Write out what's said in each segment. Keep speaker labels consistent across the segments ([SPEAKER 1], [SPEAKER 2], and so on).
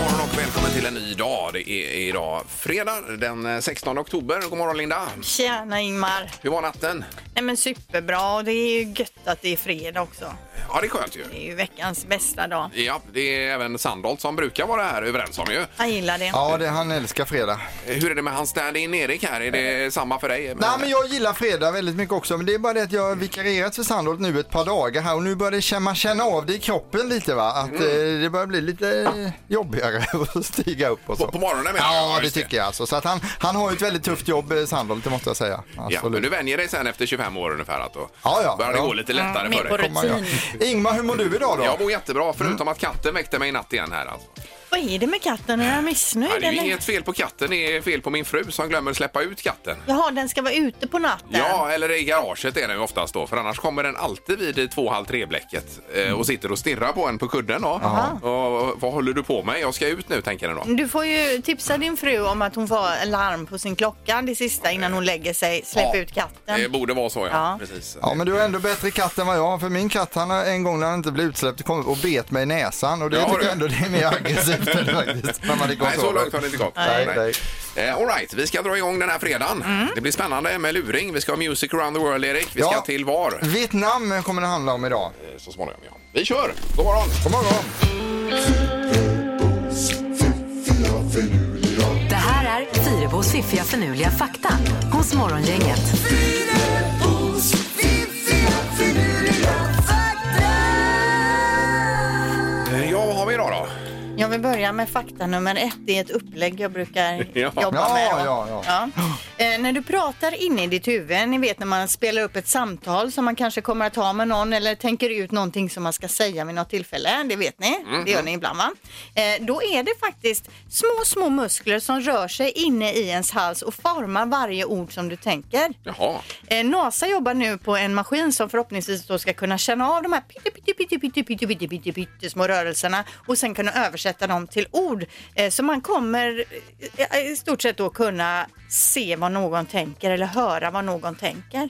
[SPEAKER 1] morgon och välkommen till en ny dag. Det är idag fredag den eh, 16 oktober. God morgon Linda!
[SPEAKER 2] Tjena Ingmar!
[SPEAKER 1] Hur var natten?
[SPEAKER 2] Nej men superbra och det är ju gött att det är fredag också.
[SPEAKER 1] Ja, det är skönt ju.
[SPEAKER 2] Det är ju veckans bästa dag.
[SPEAKER 1] Ja, det är även Sandholt som brukar vara här överens om ju.
[SPEAKER 2] Jag gillar det.
[SPEAKER 3] Ja, det, han älskar fredag.
[SPEAKER 1] Hur är det med hans stand-in Erik här? Är det samma för dig?
[SPEAKER 3] Nej, men jag gillar fredag väldigt mycket också, men det är bara det att jag har vikarierat för Sandholt nu ett par dagar här och nu börjar det känna, man känna av det i kroppen lite va, att
[SPEAKER 1] Mm.
[SPEAKER 3] eh, det börjar bli lite jobbigare att stiga upp och så.
[SPEAKER 1] På- på morgonen menar jag,
[SPEAKER 3] Ja,
[SPEAKER 1] ja,
[SPEAKER 3] det
[SPEAKER 1] just det.
[SPEAKER 3] tycker jag alltså. Så att han, han har ju ett väldigt tufft jobb, eh, Sandholt, det måste jag säga.
[SPEAKER 1] Ja, men
[SPEAKER 3] Absolut.
[SPEAKER 1] du vänjer dig sen efter 25 år ungefär att då
[SPEAKER 3] Ja, ja,
[SPEAKER 1] börjar det
[SPEAKER 3] ja.
[SPEAKER 1] gå lite lättare
[SPEAKER 2] Mer
[SPEAKER 1] för
[SPEAKER 2] på
[SPEAKER 1] dig.
[SPEAKER 3] Kommer jag.
[SPEAKER 2] rutin.
[SPEAKER 3] Ingmar, hur mår du idag då?
[SPEAKER 1] Jag mår jättebra förutom
[SPEAKER 3] Mm.
[SPEAKER 1] att katten väckte mig i natt igen här alltså.
[SPEAKER 2] Vad är det med katten? Är den
[SPEAKER 1] Ja,
[SPEAKER 2] missnöjd
[SPEAKER 1] det är ju
[SPEAKER 2] eller?
[SPEAKER 1] inget fel på katten, det är fel på min fru som glömmer släppa ut katten.
[SPEAKER 2] Jaha, den ska vara ute på natten?
[SPEAKER 1] Ja, eller i garaget är den ju oftast då, för annars kommer den alltid vid två, halv tre-bläcket eh, och sitter och stirrar på en på kudden då. Och, vad håller du på med? Jag ska ut nu, tänker den då.
[SPEAKER 2] Du får ju tipsa din fru om att hon får ha en larm på sin klocka det sista innan hon lägger sig. Släpp
[SPEAKER 1] Ja, Eh,
[SPEAKER 2] ut katten.
[SPEAKER 1] Det borde vara så, ja.
[SPEAKER 2] Ja.
[SPEAKER 1] Precis.
[SPEAKER 3] Ja men du är ändå bättre katt än vad jag har för min katt han har en gång när han inte blev utsläppt kom och bet mig i näsan och det
[SPEAKER 1] Ja,
[SPEAKER 3] tycker
[SPEAKER 1] du.
[SPEAKER 3] jag ändå det är mer aggressivt än faktiskt. När man är
[SPEAKER 1] Nej, så långt har det inte gått.
[SPEAKER 3] Nej, nej.
[SPEAKER 1] Eh, all right, vi ska dra igång den här fredagen.
[SPEAKER 2] Mm.
[SPEAKER 1] Det blir spännande med luring. Vi ska ha Music around the world, Erik. Vi ska
[SPEAKER 3] Ja.
[SPEAKER 1] till VAR eh,
[SPEAKER 3] Vietnam kommer det handla om idag.
[SPEAKER 1] så småningom. Ja. Vi kör! God morgon!
[SPEAKER 3] God morgon!
[SPEAKER 4] Det här är Fyrabos fiffiga förnuliga fakta hos Morgongänget.
[SPEAKER 1] Eh, Ja, vad har vi idag då?
[SPEAKER 2] Jag vill börja med fakta nummer ett. Det är ett upplägg jag brukar
[SPEAKER 1] Ja.
[SPEAKER 2] jobba
[SPEAKER 3] Ja,
[SPEAKER 2] med. då.
[SPEAKER 3] ja,
[SPEAKER 2] Ja. Eh, när du pratar inne i ditt huvud, ni vet när man spelar upp ett samtal som man kanske kommer att ha med någon eller tänker ut någonting som man ska säga vid något tillfälle, det vet ni, det gör ni ibland va? Eh, då är det faktiskt små, små muskler som rör sig inne i ens hals och formar varje ord som du tänker.
[SPEAKER 1] Jaha.
[SPEAKER 2] Eh, NASA jobbar nu på en maskin som förhoppningsvis då ska kunna känna av de här pytte, pytte, pytte, pytte, pytte, pytte, pytte, pytte små rörelserna och sen kunna översätta dem till ord. Eh, så man kommer eh, i stort sett då kunna se vad någon tänker eller höra vad någon tänker.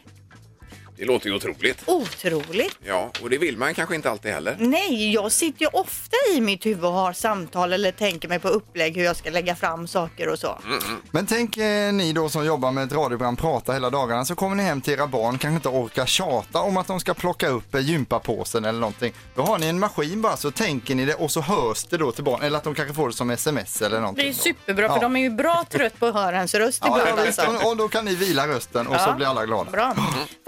[SPEAKER 1] Det låter ju otroligt.
[SPEAKER 2] Otroligt!
[SPEAKER 1] Ja, och det vill man kanske inte alltid heller.
[SPEAKER 2] Nej, jag sitter ju ofta i mitt huvud och har samtal eller tänker mig på upplägg hur jag ska lägga fram saker och
[SPEAKER 3] Mm,
[SPEAKER 2] så.
[SPEAKER 3] Men tänk eh, ni då som jobbar med ett radioprogram Prata hela dagarna så kommer ni hem till era barn kanske inte orkar tjata om att de ska plocka upp eh, gympapåsen eller någonting. Då har ni en maskin bara så tänker ni det och så hörs det då till barn eller att de kanske får det som sms eller
[SPEAKER 2] Det är
[SPEAKER 3] någonting.
[SPEAKER 2] ju
[SPEAKER 3] då.
[SPEAKER 2] superbra för
[SPEAKER 3] Ja.
[SPEAKER 2] de är ju bra trött på att höra ens röst
[SPEAKER 3] Ja,
[SPEAKER 2] ibland.
[SPEAKER 3] ja, visst.
[SPEAKER 2] alltså.
[SPEAKER 3] och, och då kan ni vila rösten och så
[SPEAKER 2] Ja.
[SPEAKER 3] blir alla glada.
[SPEAKER 2] Bra.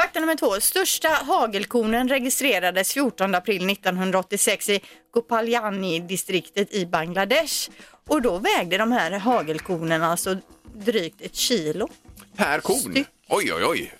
[SPEAKER 2] Fakta nummer två. Största hagelkonen registrerades 14 april 1986 i Gopaljani-distriktet i Bangladesh. Och då vägde de här hagelkonerna alltså drygt ett kilo.
[SPEAKER 1] Per kon.
[SPEAKER 2] Styck.
[SPEAKER 1] Oj, oj, oj.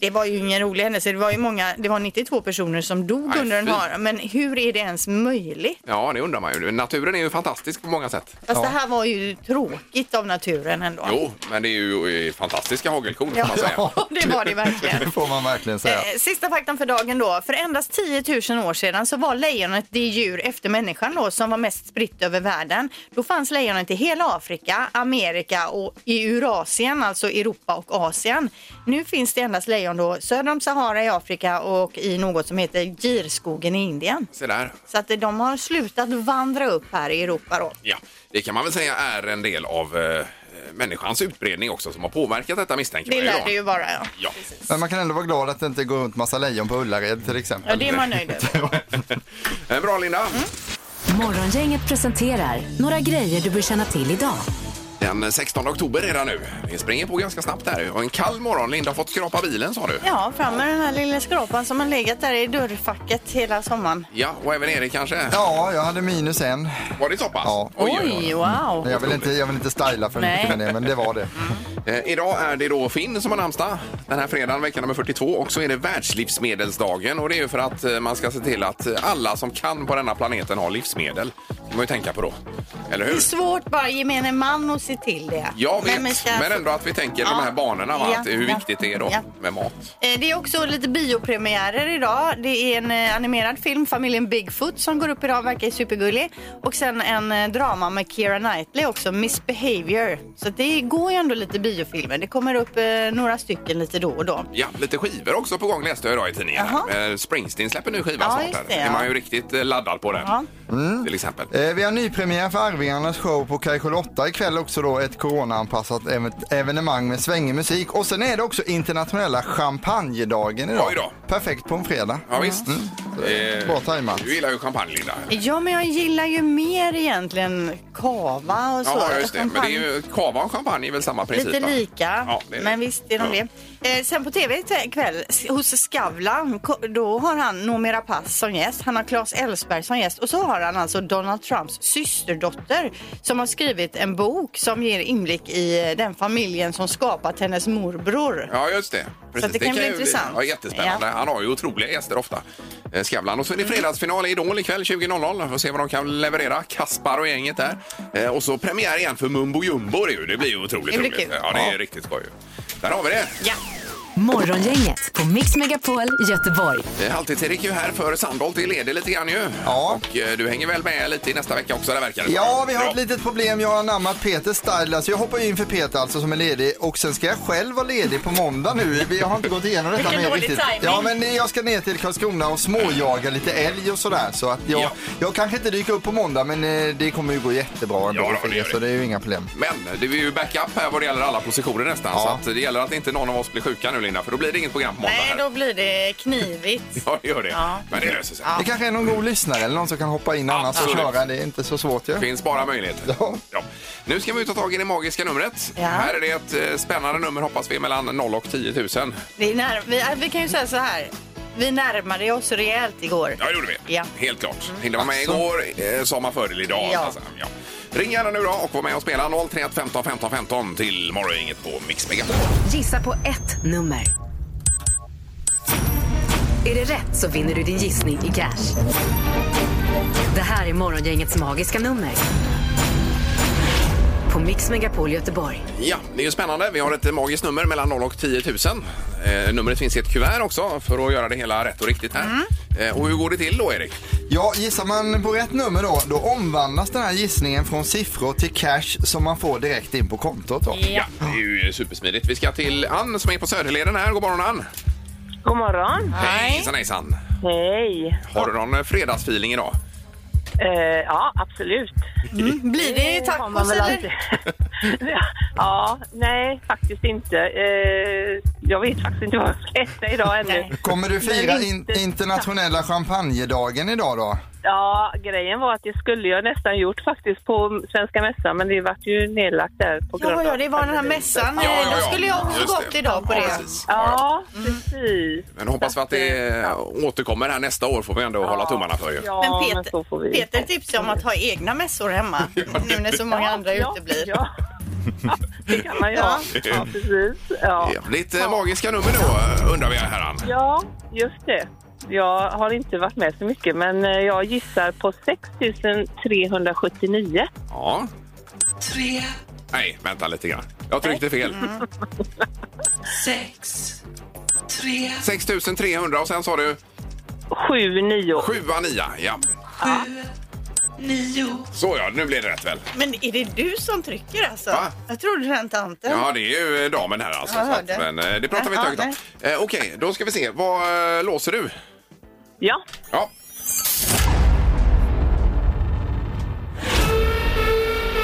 [SPEAKER 2] Det var ju ingen rolig händelse. Det var ju många, det var 92 personer som dog
[SPEAKER 1] Aj,
[SPEAKER 2] under den
[SPEAKER 1] fy.
[SPEAKER 2] här. Men hur är det ens möjligt?
[SPEAKER 1] Ja, det undrar man ju. Naturen är ju fantastisk på många sätt.
[SPEAKER 2] Fast det här var ju tråkigt av naturen ändå.
[SPEAKER 1] Jo, men det är ju eh, fantastiska hagelkorn kan man säga.
[SPEAKER 3] Ja,
[SPEAKER 2] Det var det verkligen.
[SPEAKER 3] Det får man verkligen säga.
[SPEAKER 2] Eh, Sista faktan för dagen då. För endast 10 000 år sedan så var lejonet det djur efter människan då som var mest spritt över världen. Då fanns lejonet i hela Afrika, Amerika och i Eurasien, alltså Europa och Asien. Nu finns det endast lejon då söder om Sahara i Afrika och i något som heter girskogen i Indien.
[SPEAKER 1] Se där.
[SPEAKER 2] Så att de har slutat vandra upp här i Europa då.
[SPEAKER 1] Ja, det kan man väl säga är en del av eh, människans utbredning också som har påverkat detta misstänker
[SPEAKER 2] Det
[SPEAKER 1] man ju
[SPEAKER 2] lär
[SPEAKER 1] då.
[SPEAKER 2] det ju vara ja.
[SPEAKER 1] Ja.
[SPEAKER 3] Men man kan ändå vara glad att det inte går runt massa lejon på Ullared till
[SPEAKER 2] Ja,
[SPEAKER 3] exempel.
[SPEAKER 2] det är man nöjd över.
[SPEAKER 1] Eh, Bra Linda.
[SPEAKER 2] Mm.
[SPEAKER 4] Morgongänget presenterar några grejer du bör känna till idag.
[SPEAKER 1] Den 16 oktober redan nu. Vi springer på ganska snabbt här. Och en kall morgon. Linda har fått skrapa bilen sa du.
[SPEAKER 2] Ja, fram med den här lilla skrapan som har legat där i dörrfacket hela sommaren.
[SPEAKER 1] Ja, och även Erik kanske?
[SPEAKER 3] Ja, jag hade minus en.
[SPEAKER 1] Var det så pass?
[SPEAKER 3] Ja.
[SPEAKER 2] Oj, wow!
[SPEAKER 3] Jag vill inte, jag vill inte styla för mycket
[SPEAKER 2] Nej.
[SPEAKER 3] med det, men det var det.
[SPEAKER 1] Eh, idag är det då Finn som har namnsdag den här fredagen, vecka nummer 42. Och så är det världslivsmedelsdagen och det är ju för att eh, man ska se till att eh, alla som kan på denna planeten har livsmedel. Det kan man ju tänka på då. Eller
[SPEAKER 2] Det är
[SPEAKER 1] hur?
[SPEAKER 2] svårt bara gemene man att se till det.
[SPEAKER 1] Jag vet,
[SPEAKER 2] Men vi
[SPEAKER 1] men,
[SPEAKER 2] ska-
[SPEAKER 1] ändå att vi tänker de
[SPEAKER 2] Ja.
[SPEAKER 1] här banorna, va?
[SPEAKER 2] Ja.
[SPEAKER 1] Att hur
[SPEAKER 2] Ja.
[SPEAKER 1] viktigt det är då
[SPEAKER 2] Ja.
[SPEAKER 1] med mat.
[SPEAKER 2] Eh, Det är också lite biopremiärer idag. Det är en eh, animerad film, Familjen Bigfoot, som går upp idag, verkar supergullig. Och sen en eh, drama med Keira Knightley också, Misbehavior. Så det går ju ändå lite biofilmer. Det kommer upp eh, några stycken lite då och då.
[SPEAKER 1] Ja, lite skivor också på gång läste jag idag i tidningen.
[SPEAKER 2] Jaha.
[SPEAKER 1] Eh, Springsteen släpper nu skiva
[SPEAKER 2] Ja,
[SPEAKER 1] snart.
[SPEAKER 2] just
[SPEAKER 1] Här.
[SPEAKER 2] det,
[SPEAKER 1] är
[SPEAKER 2] ja.
[SPEAKER 1] man ju riktigt eh, laddad på den.
[SPEAKER 2] Ja.
[SPEAKER 1] Till exempel.
[SPEAKER 3] Eh, Vi har nypremiär för Arvingarnas show på Kajkol 8 ikväll också då ett coronaanpassat ev- evenemang med svängig musik. Och sen är det också internationella champagnedagen idag.
[SPEAKER 1] Oj då.
[SPEAKER 3] Perfekt på en fredag.
[SPEAKER 1] Ja, visst. Eh,
[SPEAKER 3] Mm. Bra tajmat.
[SPEAKER 1] Du gillar ju champagne, Linda.
[SPEAKER 2] Ja, men jag gillar ju mer egentligen kava och så.
[SPEAKER 1] Ja, just det. Men det är ju, kava och champagne är väl samma princip?
[SPEAKER 2] Lite
[SPEAKER 1] va?
[SPEAKER 2] lika,
[SPEAKER 1] Ja, det är det.
[SPEAKER 2] men visst är de
[SPEAKER 1] Ja.
[SPEAKER 2] det. Eh, sen på tv ikväll s- hos Skavlan, ko- då har han Noomi Pass som gäst. Han har Claes Elfsberg som gäst och så har han alltså Donald Trumps systerdotter som har skrivit en bok som ger inblick i eh, den familjen som skapat hennes morbror.
[SPEAKER 1] Ja, just det. Precis.
[SPEAKER 2] det kan bli
[SPEAKER 1] ju
[SPEAKER 2] intressant.
[SPEAKER 1] Ja, jättespännande.
[SPEAKER 2] Ja. Mm.
[SPEAKER 1] Han har ju otroliga gäster ofta. eh, Skavlan. Och så är det fredagsfinal i Idol ikväll 20.00. Vi får se vad de kan leverera. Kaspar och gänget där. Eh, Och så premiär igen för Mumbo Jumbo. Det, är ju. det blir ju otroligt
[SPEAKER 2] Det blir
[SPEAKER 1] roligt.
[SPEAKER 2] kul.
[SPEAKER 1] Ja, det är riktigt skoj. ju. Där har vi det.
[SPEAKER 2] Ja.
[SPEAKER 4] Morgongänget på Mix Megapol Göteborg.
[SPEAKER 1] Eh, Halvtids-Erik är ju här för Sandholt är ledig lite grann ju.
[SPEAKER 3] Ja.
[SPEAKER 1] Och eh, du hänger väl med lite i nästa vecka också, det verkar det
[SPEAKER 3] Ja,
[SPEAKER 1] som.
[SPEAKER 3] vi har ett litet problem. Jag har anammat Peter Style. Så jag hoppar ju in för Peter alltså som är ledig och sen ska jag själv vara ledig på måndag nu. Vi har inte gått igenom detta
[SPEAKER 2] Vilken
[SPEAKER 3] mer
[SPEAKER 2] dålig
[SPEAKER 3] riktigt.
[SPEAKER 2] timing.
[SPEAKER 3] Ja, men jag ska ner till Karlskrona och småjaga lite älg och sådär. Så att jag,
[SPEAKER 1] Ja.
[SPEAKER 3] jag kanske inte dyker upp på måndag men eh, det kommer ju gå jättebra ändå
[SPEAKER 1] Ja, då,
[SPEAKER 3] för
[SPEAKER 1] det
[SPEAKER 3] er,
[SPEAKER 1] gör
[SPEAKER 3] så
[SPEAKER 1] det.
[SPEAKER 3] det är ju inga problem.
[SPEAKER 1] Men det är ju backup här vad det gäller alla positioner nästan.
[SPEAKER 3] Ja.
[SPEAKER 1] Så att det gäller att inte någon av oss blir sjuka nu Linda, för då blir det inget program på måndag.
[SPEAKER 2] Nej,
[SPEAKER 1] här.
[SPEAKER 2] då blir det knivigt.
[SPEAKER 1] Ja, det gör det.
[SPEAKER 2] Ja.
[SPEAKER 1] Men det löser sig.
[SPEAKER 3] Det kanske är någon god lyssnare eller någon som kan hoppa in annars och
[SPEAKER 1] Absolut.
[SPEAKER 3] köra. Det är inte så svårt ju.
[SPEAKER 1] Det finns bara möjligheter.
[SPEAKER 3] Ja.
[SPEAKER 1] Nu ska vi ta tag i det magiska numret.
[SPEAKER 2] Ja.
[SPEAKER 1] Här är det ett eh, spännande nummer hoppas vi mellan 0 och 10 000.
[SPEAKER 2] Vi, är när, vi, äh, vi kan ju säga så här, vi närmade oss rejält igår.
[SPEAKER 1] Ja, det gjorde vi.
[SPEAKER 2] Ja. Mm. Alltså.
[SPEAKER 1] Helt klart. Hilda var med igår, eh, sa man fördel idag.
[SPEAKER 2] Ja.
[SPEAKER 1] Alltså, ja. Ring gärna nu då och var med och spela 031 15 15 15 till morgongänget på Mix Megapol.
[SPEAKER 4] Gissa på ett nummer. Är det rätt så vinner du din gissning i cash. Det här är Morgongängets magiska nummer. På Mix Megapol Göteborg.
[SPEAKER 1] Ja, det är ju spännande. Vi har ett eh, magiskt nummer mellan 0 och 10 000. Eh, numret finns i ett kuvert också för att göra det hela rätt och riktigt här. Eh, och hur går det till då, Erik?
[SPEAKER 3] Ja, gissar man på rätt nummer då, då omvandlas den här gissningen från siffror till cash som man får direkt in på kontot då.
[SPEAKER 1] Ja, det är ju supersmidigt. Vi ska till Ann som är på Söderleden här. God morgon Ann!
[SPEAKER 5] God morgon.
[SPEAKER 1] Hejsan hejsan!
[SPEAKER 5] Hej.
[SPEAKER 1] Har du någon eh, fredagsfeeling idag?
[SPEAKER 5] Eh, ja, absolut.
[SPEAKER 2] Mm, Blir det
[SPEAKER 5] Har
[SPEAKER 2] tacos eller?
[SPEAKER 5] alltid. ja, nej, faktiskt inte. Eh, jag vet faktiskt inte vad jag ska äta idag ännu.
[SPEAKER 2] Nej.
[SPEAKER 3] Kommer du fira
[SPEAKER 5] Men
[SPEAKER 3] in
[SPEAKER 5] inte-
[SPEAKER 3] internationella champagnedagen idag då?
[SPEAKER 5] Ja, grejen var att det skulle jag nästan gjort faktiskt på Svenska Mässan, men det vart ju nedlagt där på grund
[SPEAKER 2] Ja,
[SPEAKER 5] av...
[SPEAKER 2] ja, det var den här mässan.
[SPEAKER 1] Ja, ja, ja.
[SPEAKER 2] Då skulle jag också
[SPEAKER 1] Just
[SPEAKER 2] gått idag på
[SPEAKER 1] Ja,
[SPEAKER 2] det.
[SPEAKER 1] precis. Ja,
[SPEAKER 5] Ja,
[SPEAKER 2] Mm.
[SPEAKER 5] precis.
[SPEAKER 1] ja. Men hoppas vi att det återkommer här nästa år får vi ändå hålla tummarna för ju.
[SPEAKER 5] Ja,
[SPEAKER 2] Men
[SPEAKER 5] men,
[SPEAKER 2] Peter,
[SPEAKER 5] så får vi.
[SPEAKER 2] Peter tipsade om att ha egna mässor hemma nu när så många andra
[SPEAKER 5] ja,
[SPEAKER 2] uteblir.
[SPEAKER 5] Ja, det kan man göra. Ja, precis. Ja.
[SPEAKER 1] Ja, Ditt eh, magiska nummer då eh, undrar vi här Ann.
[SPEAKER 5] Ja, just det. Jag har inte varit med så mycket, men eh, jag gissar på 6 379.
[SPEAKER 1] Ja.
[SPEAKER 6] Tre, Mm.
[SPEAKER 1] Nej, vänta lite grann. Jag tryckte fel.
[SPEAKER 6] sex, tre,
[SPEAKER 1] 6300 och sen sa du
[SPEAKER 5] 7 9.
[SPEAKER 1] 7-9. Ja.
[SPEAKER 6] nio.
[SPEAKER 1] Så ja, nu blev det rätt väl.
[SPEAKER 2] Men är det du som trycker alltså?
[SPEAKER 1] Va?
[SPEAKER 2] Jag trodde den tanten.
[SPEAKER 1] Ja, det är ju eh, damen här alltså.
[SPEAKER 2] Jag
[SPEAKER 1] Så att,
[SPEAKER 2] hörde.
[SPEAKER 1] men eh, det pratar vi inte
[SPEAKER 2] Jaha,
[SPEAKER 1] högt om. Eh, Okej, då ska vi se. Vad eh, låser du?
[SPEAKER 5] Ja,
[SPEAKER 1] Ja.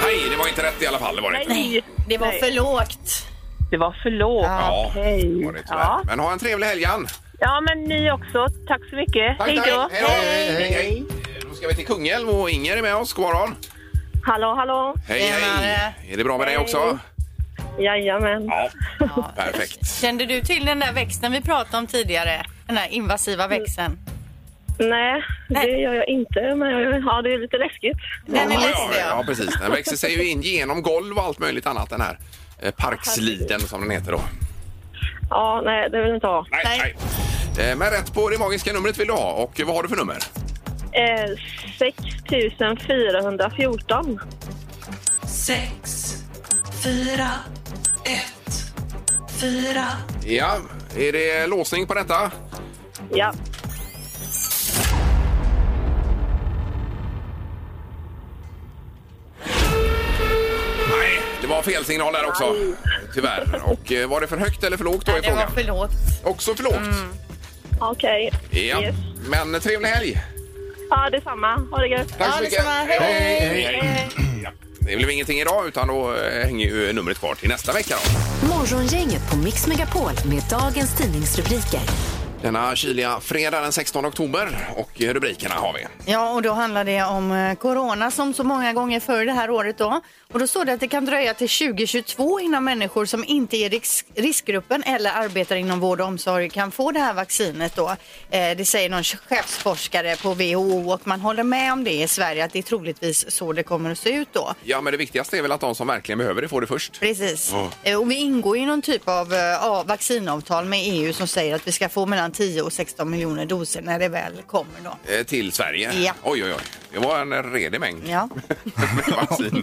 [SPEAKER 1] Nej, det var inte rätt i alla fall. Det var det inte.
[SPEAKER 5] nej.
[SPEAKER 2] Det var
[SPEAKER 5] Nej.
[SPEAKER 2] för lågt.
[SPEAKER 5] Det var för lågt.
[SPEAKER 1] Ja, det var det
[SPEAKER 5] Okej.
[SPEAKER 1] tyvärr.
[SPEAKER 5] Ja.
[SPEAKER 1] Men ha en trevlig helg, Ann.
[SPEAKER 5] ja, men ni också. Tack så mycket.
[SPEAKER 1] Tack,
[SPEAKER 5] Hej då.
[SPEAKER 1] tack. Hej då. Hej, hej. Eh, Då ska vi till Kungälv och Inger är med oss. God morgon.
[SPEAKER 5] Hallå, hallå.
[SPEAKER 1] Hej,
[SPEAKER 2] Tjenare.
[SPEAKER 1] hej. Är det bra med dig
[SPEAKER 5] Hej.
[SPEAKER 1] också?
[SPEAKER 5] Jajamän.
[SPEAKER 1] Ja. Perfekt.
[SPEAKER 2] Kände du till den där växten vi pratade om tidigare? Den där invasiva växten.
[SPEAKER 5] Nej, det gör jag inte, men ja, det är lite läskigt.
[SPEAKER 2] Den är
[SPEAKER 1] Ja,
[SPEAKER 2] lite
[SPEAKER 1] ja,
[SPEAKER 2] det.
[SPEAKER 1] ja,
[SPEAKER 2] ja.
[SPEAKER 1] precis. Den växer sig ju in genom golv och allt möjligt annat den här. eh, Parksliden som den heter då.
[SPEAKER 5] Ja, nej, det vill jag inte ha.
[SPEAKER 1] Nej, nej.
[SPEAKER 2] Nej.
[SPEAKER 1] Eh, Men rätt på det magiska numret vill du ha. Och vad har du för nummer?
[SPEAKER 5] Eh, 6 414.
[SPEAKER 7] sex, fyra, ett, fyra.
[SPEAKER 1] Ja, är det låsning på detta?
[SPEAKER 5] Ja.
[SPEAKER 1] Nej, det var fel signal där också. Tyvärr. Och eh, var det för högt eller för Mm. lågt då i
[SPEAKER 2] Det var
[SPEAKER 1] frågan?
[SPEAKER 2] för lågt.
[SPEAKER 1] Också för lågt.
[SPEAKER 5] Okej.
[SPEAKER 1] Ja.
[SPEAKER 5] Yes.
[SPEAKER 1] Men trevlig helg!
[SPEAKER 5] Ja, detsamma. Ha det gött.
[SPEAKER 1] Tack
[SPEAKER 2] Ja,
[SPEAKER 1] så mycket!
[SPEAKER 2] detsamma. Hej, hej.
[SPEAKER 1] Ja. Det blev ingenting idag utan då eh, hänger ju numret kvar till nästa vecka då.
[SPEAKER 4] Morgongänget på Mix Megapol med dagens tidningsrubriker.
[SPEAKER 1] Denna kyliga fredag den 16 oktober och eh, rubrikerna har vi.
[SPEAKER 2] Ja, och då handlar det om eh, corona som så många gånger förr det här året då. Och då står det att det kan dröja till 2022 innan människor som inte är i risk riskgruppen eller arbetar inom vård och omsorg kan få det här vaccinet då. Eh, det säger någon chefsforskare på WHO och man håller med om det i Sverige att det är troligtvis så det kommer att se ut då.
[SPEAKER 1] Ja, men det viktigaste är väl att de som verkligen behöver det får det först.
[SPEAKER 2] Precis.
[SPEAKER 1] Ja.
[SPEAKER 2] Eh, Och vi ingår i någon typ av eh, ja, vaccinavtal med EU som säger att vi ska få mellan 10 och 16 miljoner doser när det väl kommer då.
[SPEAKER 1] Eh, Till Sverige.
[SPEAKER 2] Ja.
[SPEAKER 1] Oj, oj, oj. Det var en redig mängd.
[SPEAKER 2] Ja.
[SPEAKER 1] med vaccin.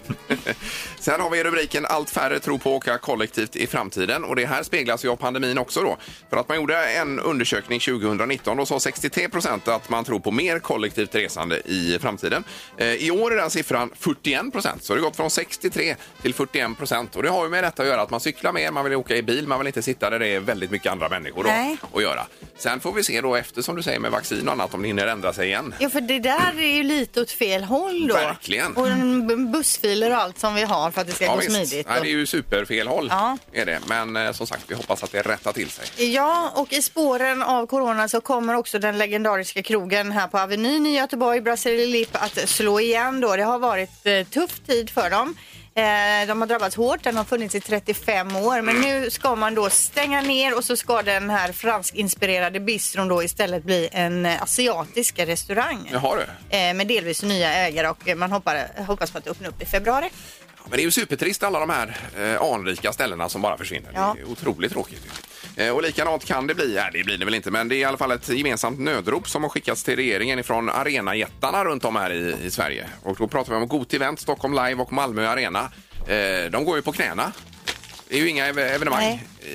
[SPEAKER 1] Sen har vi rubriken Allt färre tror på att åka kollektivt i framtiden och det här speglas ju av pandemin också då. För att man gjorde en undersökning 2019 och sa 63 procent att man tror på mer kollektivt resande i framtiden. Eh, I år är den siffran 41 procent så det har gått från 63 till 41 procent och det har ju med detta att göra att man cyklar mer, man vill åka i bil, man vill inte sitta där det är väldigt mycket andra människor då
[SPEAKER 2] Nej.
[SPEAKER 1] att göra. Sen får vi se då efter som du säger med vaccin och annat om det hinner ändra sig igen.
[SPEAKER 2] Ja, för det där är ju lite åt fel håll då.
[SPEAKER 1] Verkligen.
[SPEAKER 2] Och en b- bussfiler och allt som vi har för att det ska gå smidigt.
[SPEAKER 1] Nej, det är ju superfel håll.
[SPEAKER 2] Ja.
[SPEAKER 1] Är det. Men eh, som sagt, vi hoppas att det rättar till sig.
[SPEAKER 2] Ja, och i spåren av corona så kommer också den legendariska krogen här på Avenyn i Göteborg, Brasilipp, att slå igen då. Det har varit eh, tuff tid för dem. Eh, de har drabbats hårt, den har funnits i 35 år
[SPEAKER 1] Mm.
[SPEAKER 2] men nu ska man då stänga ner och så ska den här franskinspirerade bistron då istället bli en eh, asiatisk restaurang.
[SPEAKER 1] Jaha du.
[SPEAKER 2] Eh, med delvis nya ägare och eh, man hoppar, hoppas på att öppna upp i februari.
[SPEAKER 1] Men det är ju supertrist alla de här eh, anrika ställena som bara försvinner.
[SPEAKER 2] Ja.
[SPEAKER 1] Det är otroligt tråkigt. ju. Eh, och likadant kan det bli, nej det blir det väl inte, men det är i alla fall ett gemensamt nödrop som har skickats till regeringen ifrån arenajättarna runt om här i, i Sverige. Och då pratar vi om Goti Event, Stockholm Live och Malmö Arena. Eh, de går ju på knäna. Det är ju inga ev- evenemang.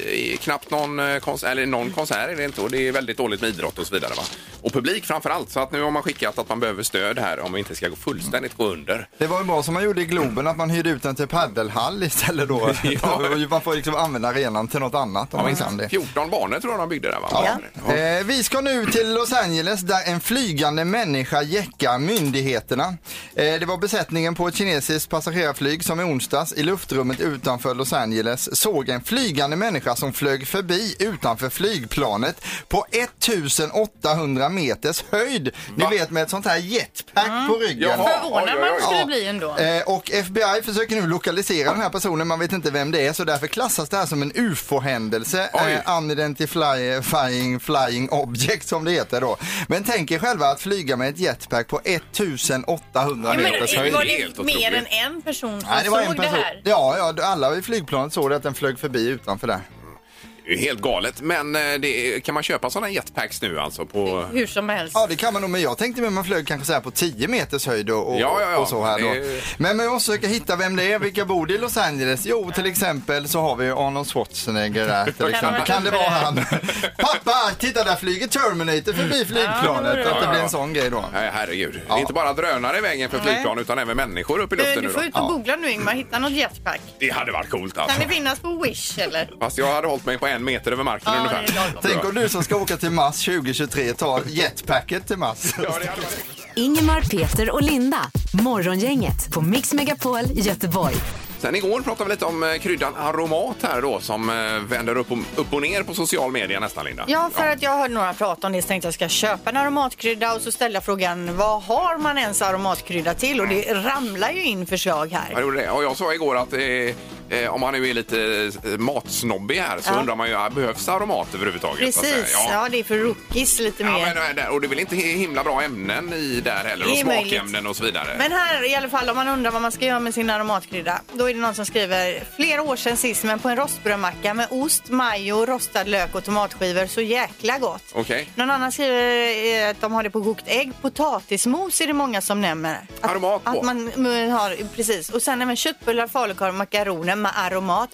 [SPEAKER 1] Eh, knappt någon, eh, kons- eller någon konsert är det inte och det är väldigt dåligt med idrott och så vidare. Va? Och publik framför allt. Så att nu har man skickat att man behöver stöd här om vi inte ska gå fullständigt gå under.
[SPEAKER 3] Det var ju bra som man gjorde i Globen att man hyrde ut den till paddelhall istället då.
[SPEAKER 1] Ja.
[SPEAKER 3] man får liksom använda arenan till något annat om man kan det.
[SPEAKER 1] 14 banor tror jag de byggde där va? Ja.
[SPEAKER 3] Eh, vi ska nu till Los Angeles där en flygande människa jäckar myndigheterna. Eh, det var besättningen på ett kinesiskt passagerarflyg som i onsdags i luftrummet utanför Los Angeles såg en flygande människa som flög förbi utanför flygplanet på 1800 meters höjd. Ni
[SPEAKER 1] Va? Mm.
[SPEAKER 3] vet med ett sånt här jetpack på ryggen.
[SPEAKER 1] Jaha.
[SPEAKER 2] Förvånad
[SPEAKER 1] Oj, oj, oj.
[SPEAKER 2] man skulle
[SPEAKER 3] Ja.
[SPEAKER 2] bli ändå.
[SPEAKER 3] Eh, Och FBI försöker nu lokalisera den här personen, man vet inte vem det är så därför klassas det här som en UFO-händelse.
[SPEAKER 1] Oj.
[SPEAKER 3] Eh, Unidentifying Flying Object som det heter då. Men tänk er själva att flyga med ett jetpack på 1800
[SPEAKER 2] Ja,
[SPEAKER 1] men
[SPEAKER 3] meters
[SPEAKER 1] det
[SPEAKER 3] höjd.
[SPEAKER 1] var helt otroligt.
[SPEAKER 2] mer än en person som
[SPEAKER 3] Nej, det var en
[SPEAKER 2] såg det
[SPEAKER 3] person.
[SPEAKER 2] här?
[SPEAKER 3] Ja, ja, alla i flygplanet såg det att den flög förbi utanför där.
[SPEAKER 1] Det är ju helt galet. Men eh, det, är- kan man köpa sådana jetpacks nu alltså? På...
[SPEAKER 2] Hur som helst.
[SPEAKER 3] Ja, det kan man nog, men jag tänkte mer man flög kanske så här på 10 meters höjd och, och,
[SPEAKER 1] Ja, ja, ja.
[SPEAKER 3] och så här då.
[SPEAKER 1] Det-
[SPEAKER 3] Men man måste försöka hitta vem det är, vilka bor det i Los Angeles? Jo, till exempel så har vi ju Arnold Schwarzenegger där till exempel. Kan det vara han? Pappa, titta där flyger Terminator förbi flygplanet. Att det blir en sån grej då.
[SPEAKER 1] Nej, herregud. Det är
[SPEAKER 3] Ja.
[SPEAKER 1] inte bara drönare i vägen för flygplan utan även människor upp i
[SPEAKER 2] Du,
[SPEAKER 1] luften
[SPEAKER 2] du
[SPEAKER 1] nu då.
[SPEAKER 2] får ut och googla nu Ingmar, hitta något jetpack.
[SPEAKER 1] Det hade varit coolt alltså.
[SPEAKER 2] Kan det finnas på Wish eller?
[SPEAKER 1] Fast jag hade hållit mig på en meter över marken
[SPEAKER 2] Ja,
[SPEAKER 1] ungefär.
[SPEAKER 2] det är lagom.
[SPEAKER 3] Tänk om du som ska åka till Mars 2023 tar jetpacket till Mars.
[SPEAKER 1] Ja, det hade varit-
[SPEAKER 4] Ingemar, Peter och Linda. Morgongänget på Mix Megapol Göteborg.
[SPEAKER 1] Sen igår pratade vi lite om eh, kryddan Aromat här då som eh, vänder upp och, upp och ner på social media nästan Linda.
[SPEAKER 2] Ja, för att jag hörde några prata om det så tänkte jag ska jag köpa en aromatkrydda och så ställde jag frågan vad har man ens aromatkrydda till? Och det ramlar ju in förslag
[SPEAKER 1] Jag
[SPEAKER 2] här.
[SPEAKER 1] gjorde det. Och jag sa igår att eh, eh, om man nu är lite eh, matsnobbig här så
[SPEAKER 2] Ja.
[SPEAKER 1] undrar man ju, ah, behövs aromat överhuvudtaget? så att
[SPEAKER 2] Precis,
[SPEAKER 1] säga?
[SPEAKER 2] ja det är för rookies lite
[SPEAKER 1] Ja,
[SPEAKER 2] mer.
[SPEAKER 1] men, eh, och det är väl inte himla bra ämnen i där heller
[SPEAKER 2] Det
[SPEAKER 1] och
[SPEAKER 2] är möjligt.
[SPEAKER 1] smakämnen och så vidare.
[SPEAKER 2] Men här i alla fall om man undrar vad man ska göra med sin aromatkrydda. Då är det någon som skriver flera år sedan sist men på en rostbrödmacka med ost, majo, rostad lök och tomatskivor. Så jäkla gott.
[SPEAKER 1] Okej.
[SPEAKER 2] Någon annan skriver eh, att de har det på kokt ägg. Potatismos är det många som nämner. Att,
[SPEAKER 1] Aromat på.
[SPEAKER 2] Att man mm, har, precis. Och sen även köttbullar, falukorv, makaroner med aromat.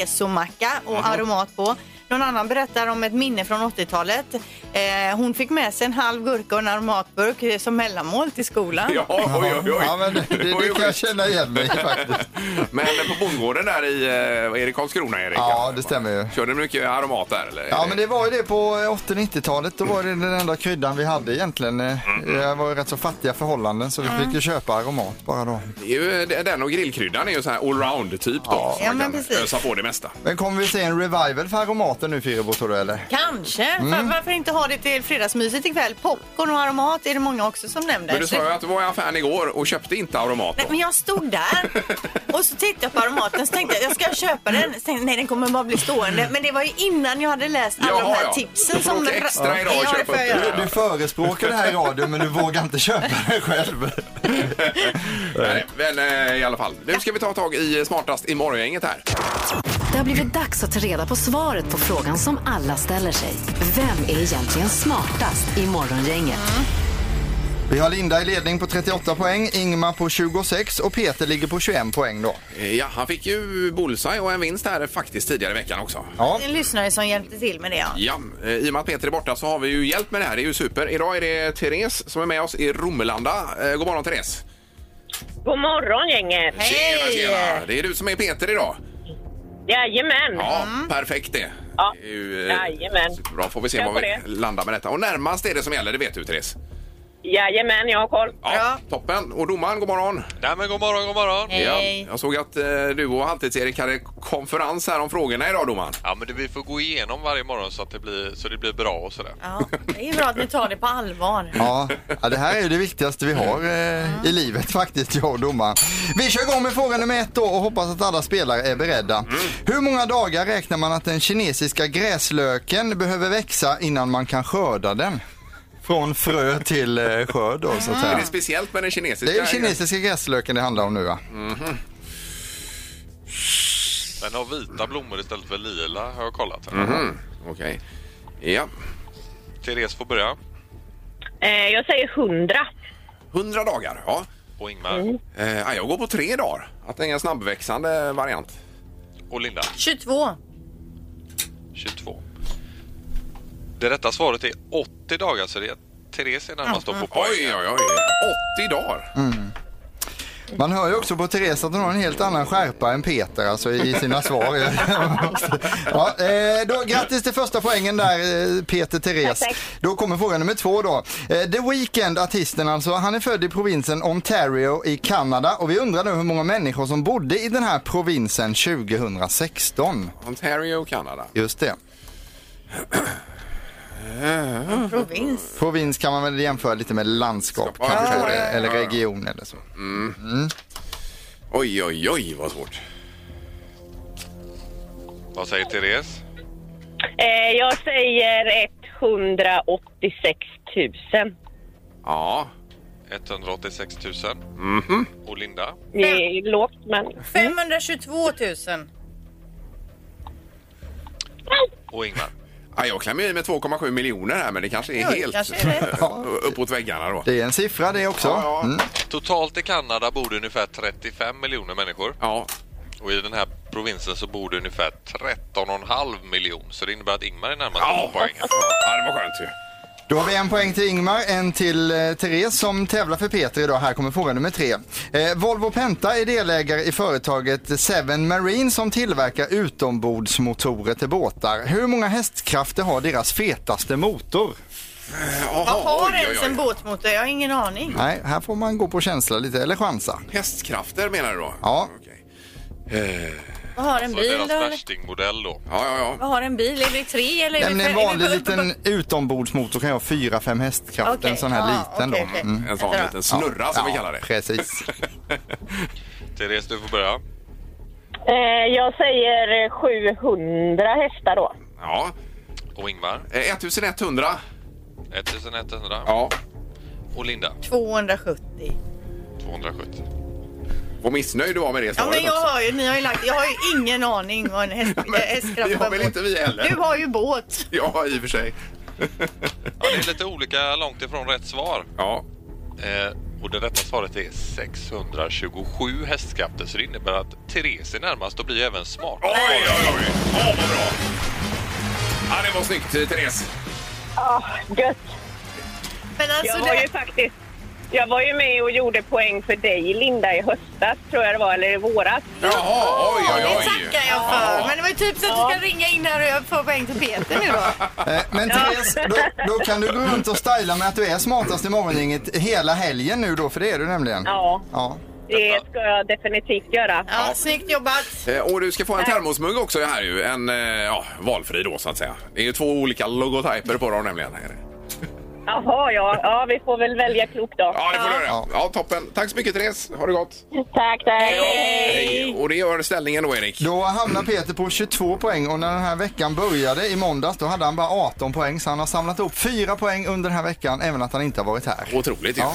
[SPEAKER 2] Kesomacka och aromat på. Någon annan berättar om ett minne från 80-talet. Eh, hon fick med sig en halv gurka och en aromatburk eh, som mellanmål till skolan.
[SPEAKER 1] Ja, oj, oj, oj.
[SPEAKER 3] Ja, men det, det,
[SPEAKER 1] Oj, oj.
[SPEAKER 3] kan jag känna igen mig i faktiskt.
[SPEAKER 1] Men eh, på bondgården där i, eh, vad är det Karlskrona Erik?
[SPEAKER 3] Ja, det stämmer ju.
[SPEAKER 1] Körde du mycket aromat där eller?
[SPEAKER 3] Ja, men det var ju det på 80-90-talet. Då var det den enda kryddan vi hade egentligen. Eh, Det var ju rätt så fattiga förhållanden så vi fick ju köpa Aromat bara då.
[SPEAKER 1] Det är ju, den och grillkryddan är ju så här allround typ då. så
[SPEAKER 2] Ja,
[SPEAKER 1] man
[SPEAKER 2] men
[SPEAKER 1] kan
[SPEAKER 2] precis.
[SPEAKER 1] Ösa på det mesta.
[SPEAKER 3] Men kommer vi se en revival för Aromaten nu Fyrebo tror du eller?
[SPEAKER 2] Kanske.
[SPEAKER 1] Mm.
[SPEAKER 2] Var- Varför inte ha det till fredagsmyset ikväll? Popcorn och aromat är det många också som nämner.
[SPEAKER 1] Men du sa
[SPEAKER 2] Så-
[SPEAKER 1] ju att du var i affären igår och köpte inte aromat
[SPEAKER 2] Nej,
[SPEAKER 1] då.
[SPEAKER 2] men jag stod där och så tittade jag på aromaten så tänkte jag jag ska köpa den. Så tänkte, jag, nej den kommer bara bli stående. Men det var ju innan jag hade läst alla
[SPEAKER 1] Jaha,
[SPEAKER 2] de här
[SPEAKER 1] ja.
[SPEAKER 2] tipsen.
[SPEAKER 1] Du får åka extra idag och
[SPEAKER 2] ja, det
[SPEAKER 1] köpa
[SPEAKER 2] får jag
[SPEAKER 1] upp
[SPEAKER 2] göra.
[SPEAKER 1] det.
[SPEAKER 3] Du förespråkar det här i radio men du vågar inte köpa det själv.
[SPEAKER 1] Nej, men eh, i alla fall. Nu ska vi ta tag i eh, smartast i morgongänget här.
[SPEAKER 4] Det har blivit dags att ta reda på svaret på frågan som alla ställer sig. Vem är egentligen smartast i morgongänget?
[SPEAKER 3] Vi har Linda i ledning på 38 poäng, Ingmar på 26 och Peter ligger på 21 poäng då.
[SPEAKER 1] Eh, Ja, han fick ju bullseye och en vinst här faktiskt tidigare i veckan också.
[SPEAKER 3] Ja.
[SPEAKER 2] En lyssnare som hjälpte till med det. Ja.
[SPEAKER 1] Ja, eh, i och med att Peter är borta så har vi ju hjälp med det här. Det är ju super. Idag är det Therese som är med oss i Romelanda. Eh, God morgon Therese!
[SPEAKER 5] God morgon, gänget!
[SPEAKER 1] Tjena, tjena! Det är du som är Peter idag.
[SPEAKER 5] Jajamän!
[SPEAKER 1] Ja, perfekt det.
[SPEAKER 5] Mm. Ja,
[SPEAKER 1] Det är ju, eh,
[SPEAKER 5] jajamän.
[SPEAKER 1] Bra, får vi se
[SPEAKER 5] Kör
[SPEAKER 1] var
[SPEAKER 5] på
[SPEAKER 1] vi
[SPEAKER 5] det.
[SPEAKER 1] landar med detta. Och närmast är det som gäller, det vet du Therese.
[SPEAKER 5] Jajamän, jag har koll.
[SPEAKER 1] Ja, Toppen! Och domaren, god morgon!
[SPEAKER 8] Nej men god morgon, god morgon.
[SPEAKER 2] Hej.
[SPEAKER 1] Ja, jag såg att eh, du och Halvtids-Erik hade konferens här om frågorna idag domaren.
[SPEAKER 8] Ja men det, vi får gå igenom varje morgon så att det blir, så det blir bra och sådär.
[SPEAKER 2] Ja, det är bra att ni tar det på allvar.
[SPEAKER 3] Ja, ja, det här är ju det viktigaste vi har eh, i livet faktiskt, jag och domaren. Vi kör igång med fråga nummer ett då och hoppas att alla spelare är beredda. Hur många dagar räknar man att den kinesiska gräslöken behöver växa innan man kan skörda den? Från frö till eh, skörd då, så att
[SPEAKER 1] Är
[SPEAKER 3] säga.
[SPEAKER 1] det speciellt med den kinesiska?
[SPEAKER 3] Det är den kinesiska gräslöken det handlar om nu va?
[SPEAKER 8] Den har vita blommor istället för lila har jag kollat. Här.
[SPEAKER 1] Okej. Ja.
[SPEAKER 8] Therese får börja.
[SPEAKER 5] Eh, jag säger 100.
[SPEAKER 1] 100 dagar, ja.
[SPEAKER 8] Och Ingmar.
[SPEAKER 2] Mm.
[SPEAKER 1] Eh, ja, jag går på tre dagar. Att det är en snabbväxande variant.
[SPEAKER 8] Och Linda.
[SPEAKER 2] 22.
[SPEAKER 8] 22. Det rätta svaret är 80 dagar så det är Therese är närmast då på poäng.
[SPEAKER 1] Oj, oj, oj. 80 dagar.
[SPEAKER 3] Man hör ju också på Therese att hon har en helt annan skärpa än Peter alltså i sina svar. ja, eh, då, grattis till första poängen där eh, Peter Therese. Då kommer fråga nummer två då. Eh, The Weeknd, artisten alltså, han är född i provinsen Ontario i Kanada och vi undrar nu hur många människor som bodde i den här provinsen 2016.
[SPEAKER 1] Ontario, Kanada.
[SPEAKER 3] Just det.
[SPEAKER 1] Mm.
[SPEAKER 2] Provins.
[SPEAKER 3] Provins kan man väl jämföra lite med landskap
[SPEAKER 1] Ja, Mm.
[SPEAKER 3] kanske,
[SPEAKER 1] jag förstår det.
[SPEAKER 3] eller, eller region eller så.
[SPEAKER 1] Oj, oj, oj, vad svårt.
[SPEAKER 8] Vad säger Therese?
[SPEAKER 5] Eh, jag säger 186 000.
[SPEAKER 1] Ja.
[SPEAKER 8] 186 000. Och Linda.
[SPEAKER 5] Det är lågt, men...
[SPEAKER 2] 522 000.
[SPEAKER 8] Och Ingmar.
[SPEAKER 1] ja jag klämmer i med 2,7 miljoner här, men det kanske är
[SPEAKER 2] Oj,
[SPEAKER 1] helt eh,
[SPEAKER 2] kanske är det.
[SPEAKER 3] Ja.
[SPEAKER 1] uppåt väggarna då.
[SPEAKER 3] Det är en siffra det också.
[SPEAKER 1] Ja, ja.
[SPEAKER 3] Mm.
[SPEAKER 8] Totalt i Kanada bor det ungefär 35 miljoner människor.
[SPEAKER 1] Ja,
[SPEAKER 8] Och i den här provinsen så bor det ungefär 13,5 miljoner. Så det innebär att Ingmar är närmast
[SPEAKER 1] ja.
[SPEAKER 8] på poäng.
[SPEAKER 1] ja det var skönt ju.
[SPEAKER 3] Då har vi en poäng till Ingmar, en till eh, Therese som tävlar för Peter idag. Här kommer fråga nummer tre. Eh, Volvo Penta är delägare i företaget Seven Marine som tillverkar utombordsmotorer till båtar. Hur många hästkrafter har deras fetaste motor?
[SPEAKER 1] Jaha,
[SPEAKER 2] Jag har
[SPEAKER 1] oj, oj,
[SPEAKER 2] ens
[SPEAKER 1] oj.
[SPEAKER 2] en båtmotor, jag har ingen aning.
[SPEAKER 3] Nej, här får man gå på känsla lite, eller chansa.
[SPEAKER 1] Hästkrafter menar du då?
[SPEAKER 3] Ja.
[SPEAKER 1] Okej. Eh,
[SPEAKER 2] Vad har en
[SPEAKER 8] Så
[SPEAKER 2] bil
[SPEAKER 8] deras
[SPEAKER 2] då? eller?
[SPEAKER 8] värstingmodell då.
[SPEAKER 1] ja, ja, ja.
[SPEAKER 2] Vad har en bil? Är det tre eller? är det
[SPEAKER 3] Nämligen en
[SPEAKER 2] fem? Är
[SPEAKER 3] vanlig
[SPEAKER 2] det-
[SPEAKER 3] liten utombordsmotor kan ju ha fyra, fem hästkrafter.
[SPEAKER 2] Okej,
[SPEAKER 3] En sån här
[SPEAKER 2] ja,
[SPEAKER 3] liten
[SPEAKER 2] okej,
[SPEAKER 3] då.
[SPEAKER 2] okej.
[SPEAKER 3] Mm.
[SPEAKER 1] En sån
[SPEAKER 2] Jättebra.
[SPEAKER 1] liten snurra som vi kallar det.
[SPEAKER 3] Precis.
[SPEAKER 8] Therese, du får börja.
[SPEAKER 5] Eh, jag säger 700 hästar då.
[SPEAKER 1] Ja.
[SPEAKER 8] Och Ingmar,
[SPEAKER 1] Eh, 1100.
[SPEAKER 8] 1100.
[SPEAKER 1] Ja.
[SPEAKER 8] Och Linda,
[SPEAKER 2] 270.
[SPEAKER 8] 270.
[SPEAKER 1] Vad missnöjd du var med det
[SPEAKER 2] Ja,
[SPEAKER 1] svaret
[SPEAKER 2] men jag
[SPEAKER 1] också.
[SPEAKER 2] har ju, ni har ju lagt, jag har ju ingen aning vad en häst,
[SPEAKER 1] Men
[SPEAKER 2] äh, hästkraft
[SPEAKER 1] det har
[SPEAKER 2] var
[SPEAKER 1] väl
[SPEAKER 2] emot.
[SPEAKER 1] inte vi heller.
[SPEAKER 2] Du har ju båt.
[SPEAKER 1] Ja, i och för sig.
[SPEAKER 8] Ja, det är lite olika långt ifrån rätt svar.
[SPEAKER 1] Ja,
[SPEAKER 8] Eh, och det rätta svaret är 627 hästkrafter så det innebär att Therese är närmast och blir även smart.
[SPEAKER 1] Oj, oj, oj! Åh, vad bra! Ja, det var snyggt, eh, Therese.
[SPEAKER 5] Ja, Ah, gött.
[SPEAKER 2] Men
[SPEAKER 5] Jag
[SPEAKER 2] alltså,
[SPEAKER 5] var ju
[SPEAKER 2] det,
[SPEAKER 5] faktiskt... Jag var ju med och gjorde poäng för dig, Linda, i höstas, tror jag det var, eller i våras.
[SPEAKER 1] Jaha, oj, oj,
[SPEAKER 2] det
[SPEAKER 1] oj!
[SPEAKER 2] tackar jag för. Men det var ju typ så att du ska ringa in här och jag får poäng till Peter nu då.
[SPEAKER 3] Eh, Men Therese, då, då kan du gå runt och styla med att du är smartast i morgongänget hela helgen nu då, för det är du nämligen.
[SPEAKER 5] Ja.
[SPEAKER 3] Ja.
[SPEAKER 5] Det ska jag definitivt göra.
[SPEAKER 2] Ja, snyggt jobbat.
[SPEAKER 1] Eh, Och du ska få en termosmugg också här ju. En eh, ja, valfri då så att säga. Det är ju två olika logotyper på dem nämligen. Här.
[SPEAKER 5] Jaha, ja. ja. Vi får väl välja klokt då.
[SPEAKER 1] Ja, det får du göra.
[SPEAKER 3] Ja.
[SPEAKER 1] Ja, toppen. Tack så mycket Therese. Ha det gott.
[SPEAKER 5] Tack, tack.
[SPEAKER 1] Hej. Och det gör ställningen då Erik.
[SPEAKER 3] Då hamnar Peter på 22 poäng och när den här veckan började i måndags då hade han bara 18 poäng så han har samlat ihop 4 poäng under den här veckan även att han inte har varit här.
[SPEAKER 1] Otroligt ju.
[SPEAKER 3] Ja.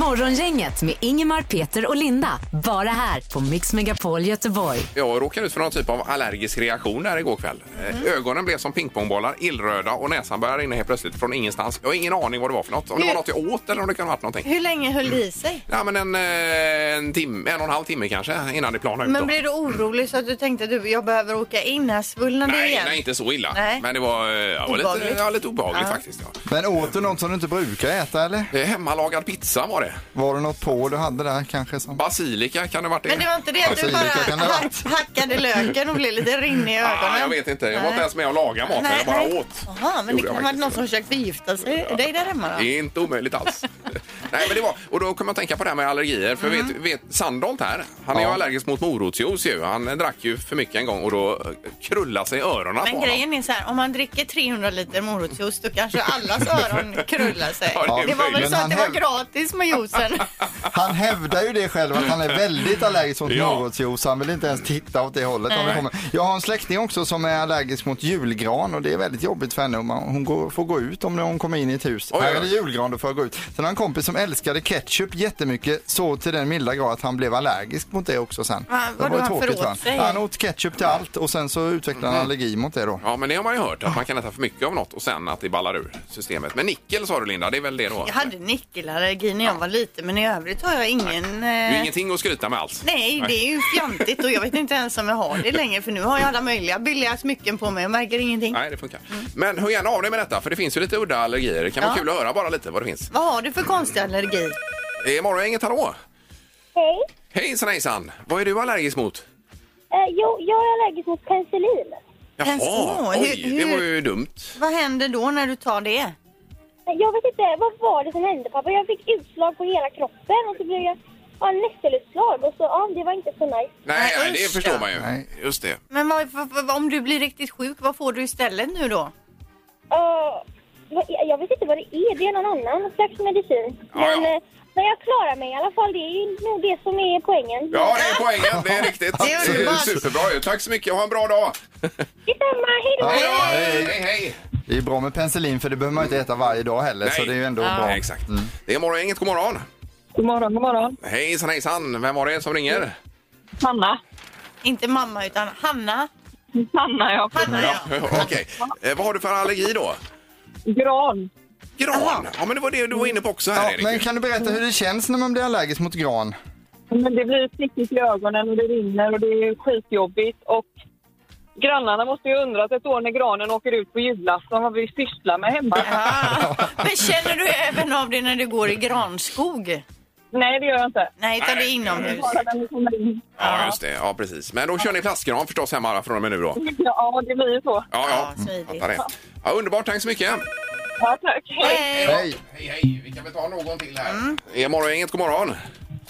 [SPEAKER 4] Morgongänget med Ingemar, Peter och Linda. Bara här på Mix Megapol Göteborg.
[SPEAKER 1] Jag råkade ut för någon typ av allergisk reaktion där igår kväll. Eh,
[SPEAKER 2] Mm.
[SPEAKER 1] Ögonen blev som pingpongbollar, illröda och näsan började rinna helt plötsligt från ingenstans. Jag har ingen aning vad det var för något. Om det var
[SPEAKER 2] Hur-
[SPEAKER 1] något jag åt eller om det kan ha varit någonting.
[SPEAKER 2] Hur länge höll det i sig?
[SPEAKER 1] Ja, men en, eh, en, timme, en och en halv timme kanske innan det planar ut. då.
[SPEAKER 2] Men blev du orolig så att du tänkte att du, jag behöver åka in, här svullnade det
[SPEAKER 1] nej,
[SPEAKER 2] igen?
[SPEAKER 1] nej, inte så illa.
[SPEAKER 2] Nej.
[SPEAKER 1] Men det var, eh, ja, var lite,
[SPEAKER 2] Obehagligt.
[SPEAKER 1] ja, lite obehagligt faktiskt. Ja.
[SPEAKER 3] Men åt du något som du inte brukar äta eller?
[SPEAKER 1] Eh, Hemmalagad pizza var det.
[SPEAKER 3] Var det något på du hade där kanske? Som...
[SPEAKER 1] Basilika kan det ha varit det.
[SPEAKER 2] Men det var inte det att du
[SPEAKER 3] Alltså,
[SPEAKER 2] bara
[SPEAKER 3] det kan det ha varit.
[SPEAKER 2] hack, hackade löken och blev lite rinnig i
[SPEAKER 1] ah,
[SPEAKER 2] ögonen?
[SPEAKER 1] jag vet inte. Jag var
[SPEAKER 2] Nej.
[SPEAKER 1] inte ens med och lagade maten.
[SPEAKER 2] Nej,
[SPEAKER 1] jag bara
[SPEAKER 2] nej.
[SPEAKER 1] åt.
[SPEAKER 2] Jaha, men
[SPEAKER 1] Gjorde
[SPEAKER 2] det kan
[SPEAKER 1] jag
[SPEAKER 2] ha varit
[SPEAKER 1] faktiskt.
[SPEAKER 2] någon som försökt förgifta sig. Är dig där hemma då?
[SPEAKER 1] Det är inte omöjligt alls. Nej, men det var, och då kommer jag tänka på det här med allergier. För
[SPEAKER 2] Mm.
[SPEAKER 1] vet, vet Sandholt här, han är ju
[SPEAKER 3] Ja.
[SPEAKER 1] allergisk mot morotsjuice ju. Han drack ju för mycket en gång och då eh, krullade sig öronen på
[SPEAKER 2] Men
[SPEAKER 1] honom.
[SPEAKER 2] grejen är så här, om man dricker 300 liter morotsjuice då kanske allas öron krullar sig.
[SPEAKER 1] Ja, det är
[SPEAKER 2] det var väl
[SPEAKER 1] möjligt.
[SPEAKER 2] så att
[SPEAKER 3] Men
[SPEAKER 2] det
[SPEAKER 3] han
[SPEAKER 2] var gratis med juicen.
[SPEAKER 3] Han hävdar ju det själv att han är väldigt allergisk mot
[SPEAKER 1] Ja.
[SPEAKER 3] morotsjuice. Han vill inte ens titta åt det hållet. Om det kommer. Jag har en släkting också som är allergisk mot julgran och det är väldigt jobbigt för henne. Om man- Hon går, får gå ut om hon kommer in i ett hus.
[SPEAKER 1] Oj,
[SPEAKER 3] Här
[SPEAKER 1] oj.
[SPEAKER 3] är det julgran, då får jag gå ut. Sen har jag en kompis som älskade ketchup jättemycket så till den milda grad att han blev allergisk mot det också sen.
[SPEAKER 2] Ah,
[SPEAKER 3] det
[SPEAKER 2] vad
[SPEAKER 3] var ju
[SPEAKER 2] han
[SPEAKER 3] tråkigt
[SPEAKER 2] föråt
[SPEAKER 3] för han.
[SPEAKER 2] sig.
[SPEAKER 3] han åt ketchup till allt och sen så utvecklade
[SPEAKER 1] Mm.
[SPEAKER 3] han allergi mot det då.
[SPEAKER 1] Ja, men det har man ju hört. Att man kan äta för mycket av något och sen att det ballar ur systemet. Men nickel sa du Linda, det är väl det då?
[SPEAKER 2] Jag hade nickelallergi när jag var liten men i övrigt har jag ingen...
[SPEAKER 1] Det är ju
[SPEAKER 2] eh,
[SPEAKER 1] ingenting att skryta med alls.
[SPEAKER 2] Nej, det är ju fjantigt och jag vet inte ens om jag har det längre för nu har jag alla möjliga billiga smycken på mig och märker ingenting.
[SPEAKER 1] Nej, det funkar. Men hör gärna av dig med detta, för det finns ju lite udda allergier. Det kan vara
[SPEAKER 2] Mm. Ja.
[SPEAKER 1] kul att höra bara lite vad det finns.
[SPEAKER 2] Vad har du för konstig allergi?
[SPEAKER 1] Eh, Morgon, inget hallå!
[SPEAKER 5] Hej.
[SPEAKER 1] Hejsan hejsan! Vad är du allergisk mot?
[SPEAKER 5] Eh, jo, jag är allergisk mot penicillin.
[SPEAKER 1] Jaha,
[SPEAKER 2] Men så,
[SPEAKER 1] oj,
[SPEAKER 2] hur-
[SPEAKER 1] det
[SPEAKER 2] hur-
[SPEAKER 1] var ju dumt.
[SPEAKER 2] Vad händer då när du tar det?
[SPEAKER 5] Eh, Jag vet inte, vad var det som hände pappa? Jag fick utslag på hela kroppen och så blev jag ja, nässelutslag och så, ja, det var inte så nice.
[SPEAKER 1] Nej,
[SPEAKER 2] Nej,
[SPEAKER 1] det
[SPEAKER 2] usch,
[SPEAKER 1] förstår
[SPEAKER 2] ja.
[SPEAKER 1] man ju.
[SPEAKER 3] Nej.
[SPEAKER 1] Just det.
[SPEAKER 2] Men vad, vad, vad, om du blir riktigt sjuk, vad får du istället nu då?
[SPEAKER 5] Ja, Eh, vad- jag vet inte vad det är, det är någon annan slags medicin.
[SPEAKER 1] Ja,
[SPEAKER 5] Men,
[SPEAKER 1] ja.
[SPEAKER 5] eh, men jag klarar mig i alla fall, det är ju nog det som är poängen.
[SPEAKER 1] Ja, det är poängen. Det är riktigt.
[SPEAKER 2] Det är
[SPEAKER 1] ju
[SPEAKER 2] underbart.
[SPEAKER 1] superbra ju. Tack så mycket och ha en bra dag!
[SPEAKER 5] Detsamma, hej då!
[SPEAKER 3] Ja.
[SPEAKER 1] Hej, hej!
[SPEAKER 3] Det är bra med penicillin för det behöver man inte äta varje dag heller så
[SPEAKER 1] Nej.
[SPEAKER 3] det är ju ändå
[SPEAKER 1] Ja,
[SPEAKER 3] bra.
[SPEAKER 1] exakt. Det är morgongänget, god morgon!
[SPEAKER 5] God morgon, god morgon.
[SPEAKER 1] Hejsan hejsan! Vem var det som ringer?
[SPEAKER 5] Hanna.
[SPEAKER 2] Inte mamma utan Hanna.
[SPEAKER 5] Hanna, ja.
[SPEAKER 2] Hanna ja.
[SPEAKER 1] Okej. Eh, Vad har du för allergi då?
[SPEAKER 5] Gran.
[SPEAKER 1] Gran! Ja, men det var det du var inne på också här,
[SPEAKER 3] Ja,
[SPEAKER 1] Erik.
[SPEAKER 3] men kan du berätta hur det känns när man blir allergisk mot gran?
[SPEAKER 5] Men det blir prickigt i ögonen och det rinner och det är skitjobbigt. Och grannarna måste ju undra att ett år när granen åker ut på julafton vad vi sysslar med hemma.
[SPEAKER 2] Ah, men känner du även av det när du går i granskog?
[SPEAKER 5] Nej, det gör jag inte.
[SPEAKER 2] Nej, utan det är
[SPEAKER 1] Nej.
[SPEAKER 2] inomhus.
[SPEAKER 5] Bara när vi kommer in.
[SPEAKER 1] Ja, just det. Ja, precis. Men då kör ni plastgran förstås hemma från och med nu då?
[SPEAKER 5] Ja, det blir ju så.
[SPEAKER 1] Ja, ja.
[SPEAKER 2] Ja, smidigt.
[SPEAKER 1] Fattar det. Ja, underbart. Tack så mycket.
[SPEAKER 5] Ja, tack. Hej.
[SPEAKER 2] Eh,
[SPEAKER 3] Hej!
[SPEAKER 1] Hej, hej. Vi kan väl ta någon till här. Mm. Är morgongänget, god morgon.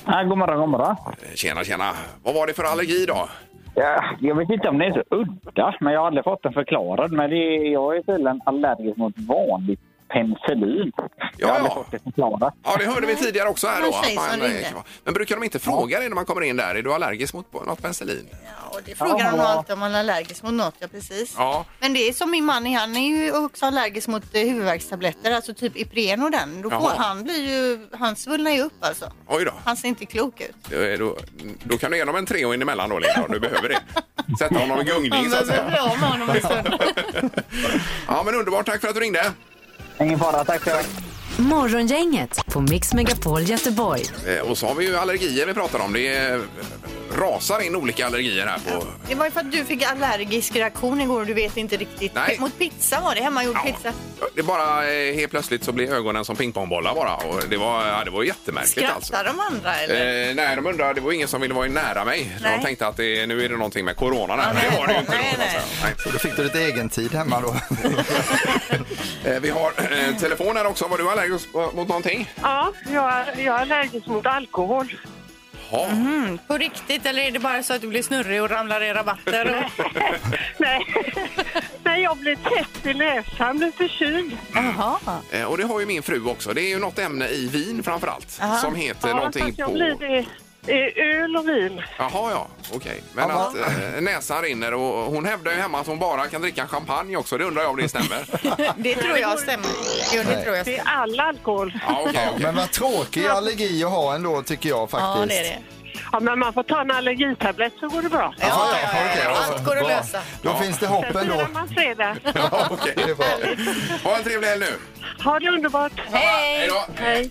[SPEAKER 9] Ja, god morgon, god morgon.
[SPEAKER 1] Tjena, tjena. Vad var det för allergi då?
[SPEAKER 9] Ja, jag vet inte om det är så udda, men jag har aldrig fått den förklarad. Men det är, jag är tydligen allergisk mot vanligt penicillin. Jag har aldrig fått det förklarat.
[SPEAKER 1] Ja, det hörde vi tidigare också här
[SPEAKER 9] Det
[SPEAKER 1] då.
[SPEAKER 9] var en tjej
[SPEAKER 1] att
[SPEAKER 9] som
[SPEAKER 1] man,
[SPEAKER 9] ringde.
[SPEAKER 1] eh, men brukar de inte fråga dig när man kommer in där? Är du allergisk mot något penicillin?
[SPEAKER 2] Ja, det frågar de nog alltid om man är allergisk mot något, ja precis.
[SPEAKER 1] Ja.
[SPEAKER 2] Men det är som min man, han är ju också allergisk mot eh, huvudvärkstabletter, alltså typ Ipren och den. Då får,
[SPEAKER 1] Jaha.
[SPEAKER 2] han blir ju, han svullnar ju upp alltså.
[SPEAKER 1] Oj då.
[SPEAKER 2] Han ser inte klok ut.
[SPEAKER 1] Då är- Då, då kan du ge honom en Treo in emellan då, Linda, om du behöver det. Sätta honom i gungning, så att säga.
[SPEAKER 2] bra med honom en stund.
[SPEAKER 1] Ja, men underbart. Tack för att du ringde.
[SPEAKER 9] Ingen fara, tack själv.
[SPEAKER 4] Morgongänget på Mix Megapol Göteborg.
[SPEAKER 1] Eh, Och så har vi ju allergier vi pratar om. Det eh, rasar in olika allergier här på...
[SPEAKER 2] Det var ju för att du fick allergisk reaktion igår och du vet inte riktigt. Mot pizza var det, hemmagjord pizza.
[SPEAKER 1] Det bara eh, helt plötsligt så blir ögonen som pingpongbollar bara. Och det var, ja, det var jättemärkligt
[SPEAKER 2] Skrattar
[SPEAKER 1] alltså.
[SPEAKER 2] de andra eller?
[SPEAKER 1] Eh, nej, de undrade, det var ingen som ville vara nära mig.
[SPEAKER 2] Nej.
[SPEAKER 1] De tänkte att det, nu är det någonting med corona där. Men det var det ju inte då. alltså. kan man säga. Nej.
[SPEAKER 3] Så då fick du lite egen tid hemma då.
[SPEAKER 1] Eh, vi har eh, telefon här också. Var du allergisk mot någonting?
[SPEAKER 5] Ja, jag är, jag är allergisk mot alkohol.
[SPEAKER 1] Ja.
[SPEAKER 2] Mm, på riktigt eller är det bara så att du blir snurrig och ramlar i rabatter? Och...
[SPEAKER 5] Nej. Nej, jag blev täppt i näsan, blev förkyld.
[SPEAKER 2] Jaha.
[SPEAKER 1] Eh, och det har ju min fru också. Det är ju något ämne i vin framför allt som heter
[SPEAKER 5] ja,
[SPEAKER 1] någonting
[SPEAKER 5] fast jag
[SPEAKER 1] på...
[SPEAKER 5] blir det. Det är öl och vin.
[SPEAKER 1] Jaha, ja. Okej. Men
[SPEAKER 5] Ja,
[SPEAKER 1] att eh, näsan rinner och hon hävdar ju hemma att hon bara kan dricka champagne också. Det undrar jag om det stämmer.
[SPEAKER 2] Det tror jag stämmer. Jo, det tror jag
[SPEAKER 5] Det är all alkohol.
[SPEAKER 1] Ja, okej, okej.
[SPEAKER 3] Men vad tråkig allergi att ha ändå tycker jag faktiskt.
[SPEAKER 5] Ja, det är det. Ja, men man får ta en allergitablett så går det bra.
[SPEAKER 3] Ja, ja, okej, då.
[SPEAKER 2] Allt går att
[SPEAKER 3] Bra.
[SPEAKER 2] lösa.
[SPEAKER 3] Då finns det hopp
[SPEAKER 5] Sen
[SPEAKER 3] ändå.
[SPEAKER 5] firar man fredag.
[SPEAKER 1] Ja, okej. Ha en trevlig helg nu.
[SPEAKER 5] Ha det underbart.
[SPEAKER 2] Hej!
[SPEAKER 5] Hej.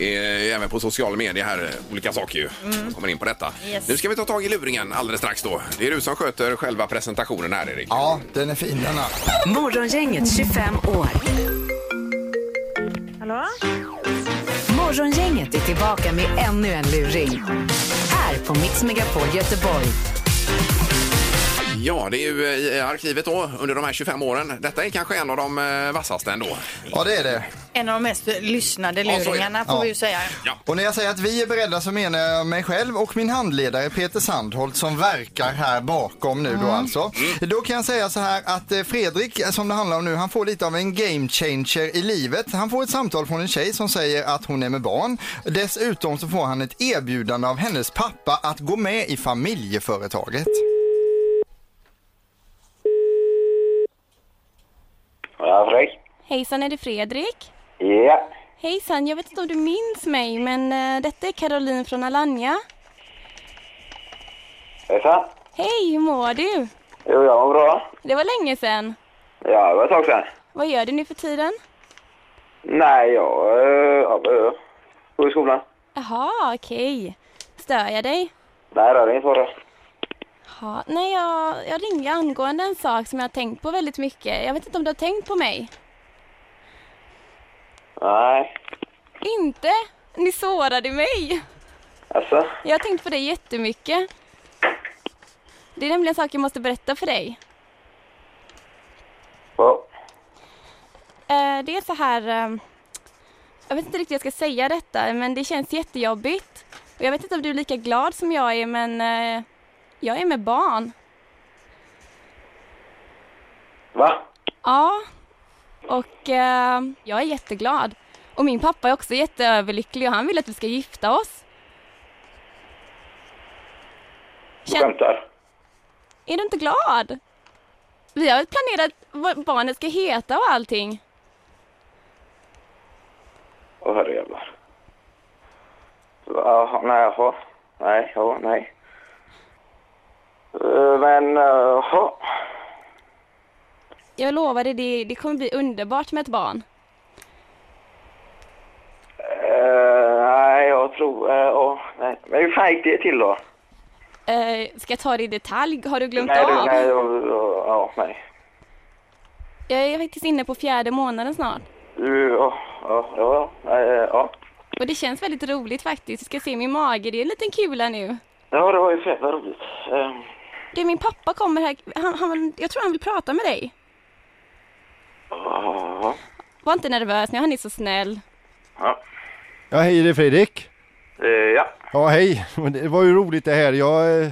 [SPEAKER 1] Eh, Även på sociala medier här, eh, olika saker ju.
[SPEAKER 5] Mm.
[SPEAKER 1] Kommer in på detta.
[SPEAKER 5] Yes.
[SPEAKER 1] Nu ska vi ta tag i luringen alldeles strax då. Det är du som sköter själva presentationen här Erik.
[SPEAKER 3] Ja, den är fin den här.
[SPEAKER 4] Morgongänget 25 år.
[SPEAKER 5] Hallå?
[SPEAKER 4] Morgongänget är tillbaka med ännu en luring. Här på Mix Megapol Göteborg.
[SPEAKER 1] Ja, det är ju eh, i arkivet då under de här 25 åren. Detta är kanske en av de eh, vassaste ändå.
[SPEAKER 3] Ja, det är det.
[SPEAKER 2] En av de mest lyssnade
[SPEAKER 1] Ja, så är det.
[SPEAKER 2] luringarna får
[SPEAKER 3] Ja.
[SPEAKER 2] vi ju säga.
[SPEAKER 3] Och när jag säger att vi är beredda så menar jag mig själv och min handledare Peter Sandholt som verkar här bakom nu då alltså. Då kan jag säga så här att eh, Fredrik som det handlar om nu han får lite av en game changer i livet. Han får ett samtal från en tjej som säger att hon är med barn. Dessutom så får han ett erbjudande av hennes pappa att gå med i familjeföretaget.
[SPEAKER 10] Ja, Fredrik.
[SPEAKER 11] Hejsan, är det Fredrik?
[SPEAKER 10] Ja.
[SPEAKER 11] Hejsan, jag vet inte om du minns mig, men eh, detta är Caroline från Alanya.
[SPEAKER 10] Hejsan.
[SPEAKER 11] Hej, hur mår du?
[SPEAKER 10] Jo, jag mår bra.
[SPEAKER 11] Det var länge sedan.
[SPEAKER 10] Ja, det var ett tag sedan.
[SPEAKER 11] Vad gör du nu för tiden?
[SPEAKER 10] Nej, jag... eh, ja, eh, Går i skolan.
[SPEAKER 11] Jaha, okej. Stör jag dig?
[SPEAKER 10] Nej, det är ingen fara.
[SPEAKER 11] Ja, nej, jag, jag ringde angående en sak som jag har tänkt på väldigt mycket. Jag vet inte om du har tänkt på mig?
[SPEAKER 10] Nej.
[SPEAKER 11] Inte? Ni sårade mig!
[SPEAKER 10] Alltså?
[SPEAKER 11] Jag har tänkt på dig jättemycket. Det är nämligen en sak jag måste berätta för dig.
[SPEAKER 10] Ja.
[SPEAKER 11] Eh, Det är så här... eh, Jag vet inte riktigt hur jag ska säga detta, men det känns jättejobbigt. Och jag vet inte om du är lika glad som jag är, men eh, jag är med barn.
[SPEAKER 10] Va?
[SPEAKER 11] Ja, och eh, jag är jätteglad. Och min pappa är också jätteöverlycklig och han vill att vi ska gifta oss.
[SPEAKER 10] Du skämtar?
[SPEAKER 11] Är du inte glad? Vi har planerat vad barnet ska heta och allting.
[SPEAKER 10] Åh, herrejävlar. Jaha, nej, jaha. Nej, ja, nej. Eh, Men, eh, jaha.
[SPEAKER 11] Jag lovar dig, det, det kommer bli underbart med ett barn.
[SPEAKER 10] Eh, Nej, jag tror... eh, ja, nej. Men hur fan gick det till då?
[SPEAKER 11] Eh, ska jag ta det i detalj? Har du glömt
[SPEAKER 10] Nej,
[SPEAKER 11] av?
[SPEAKER 10] du, nej, jag- jag- ja, nej.
[SPEAKER 11] Jag är faktiskt inne på fjärde månaden snart.
[SPEAKER 10] Du, ja, ja, ja, ja, ja.
[SPEAKER 11] Och det känns väldigt roligt faktiskt. Du ska se min mage, det är en liten kula nu.
[SPEAKER 10] Ja, det var ju fett vad roligt. Ehm,
[SPEAKER 11] Du, min pappa kommer här. Han, han, jag tror han vill prata med dig.
[SPEAKER 10] Ja.
[SPEAKER 11] Var inte nervös nu, han är så snäll.
[SPEAKER 10] Ja.
[SPEAKER 12] Ja, hej det är Fredrik.
[SPEAKER 10] Eh, ja.
[SPEAKER 12] Ja, hej. Det var ju roligt det här. Jag, eh,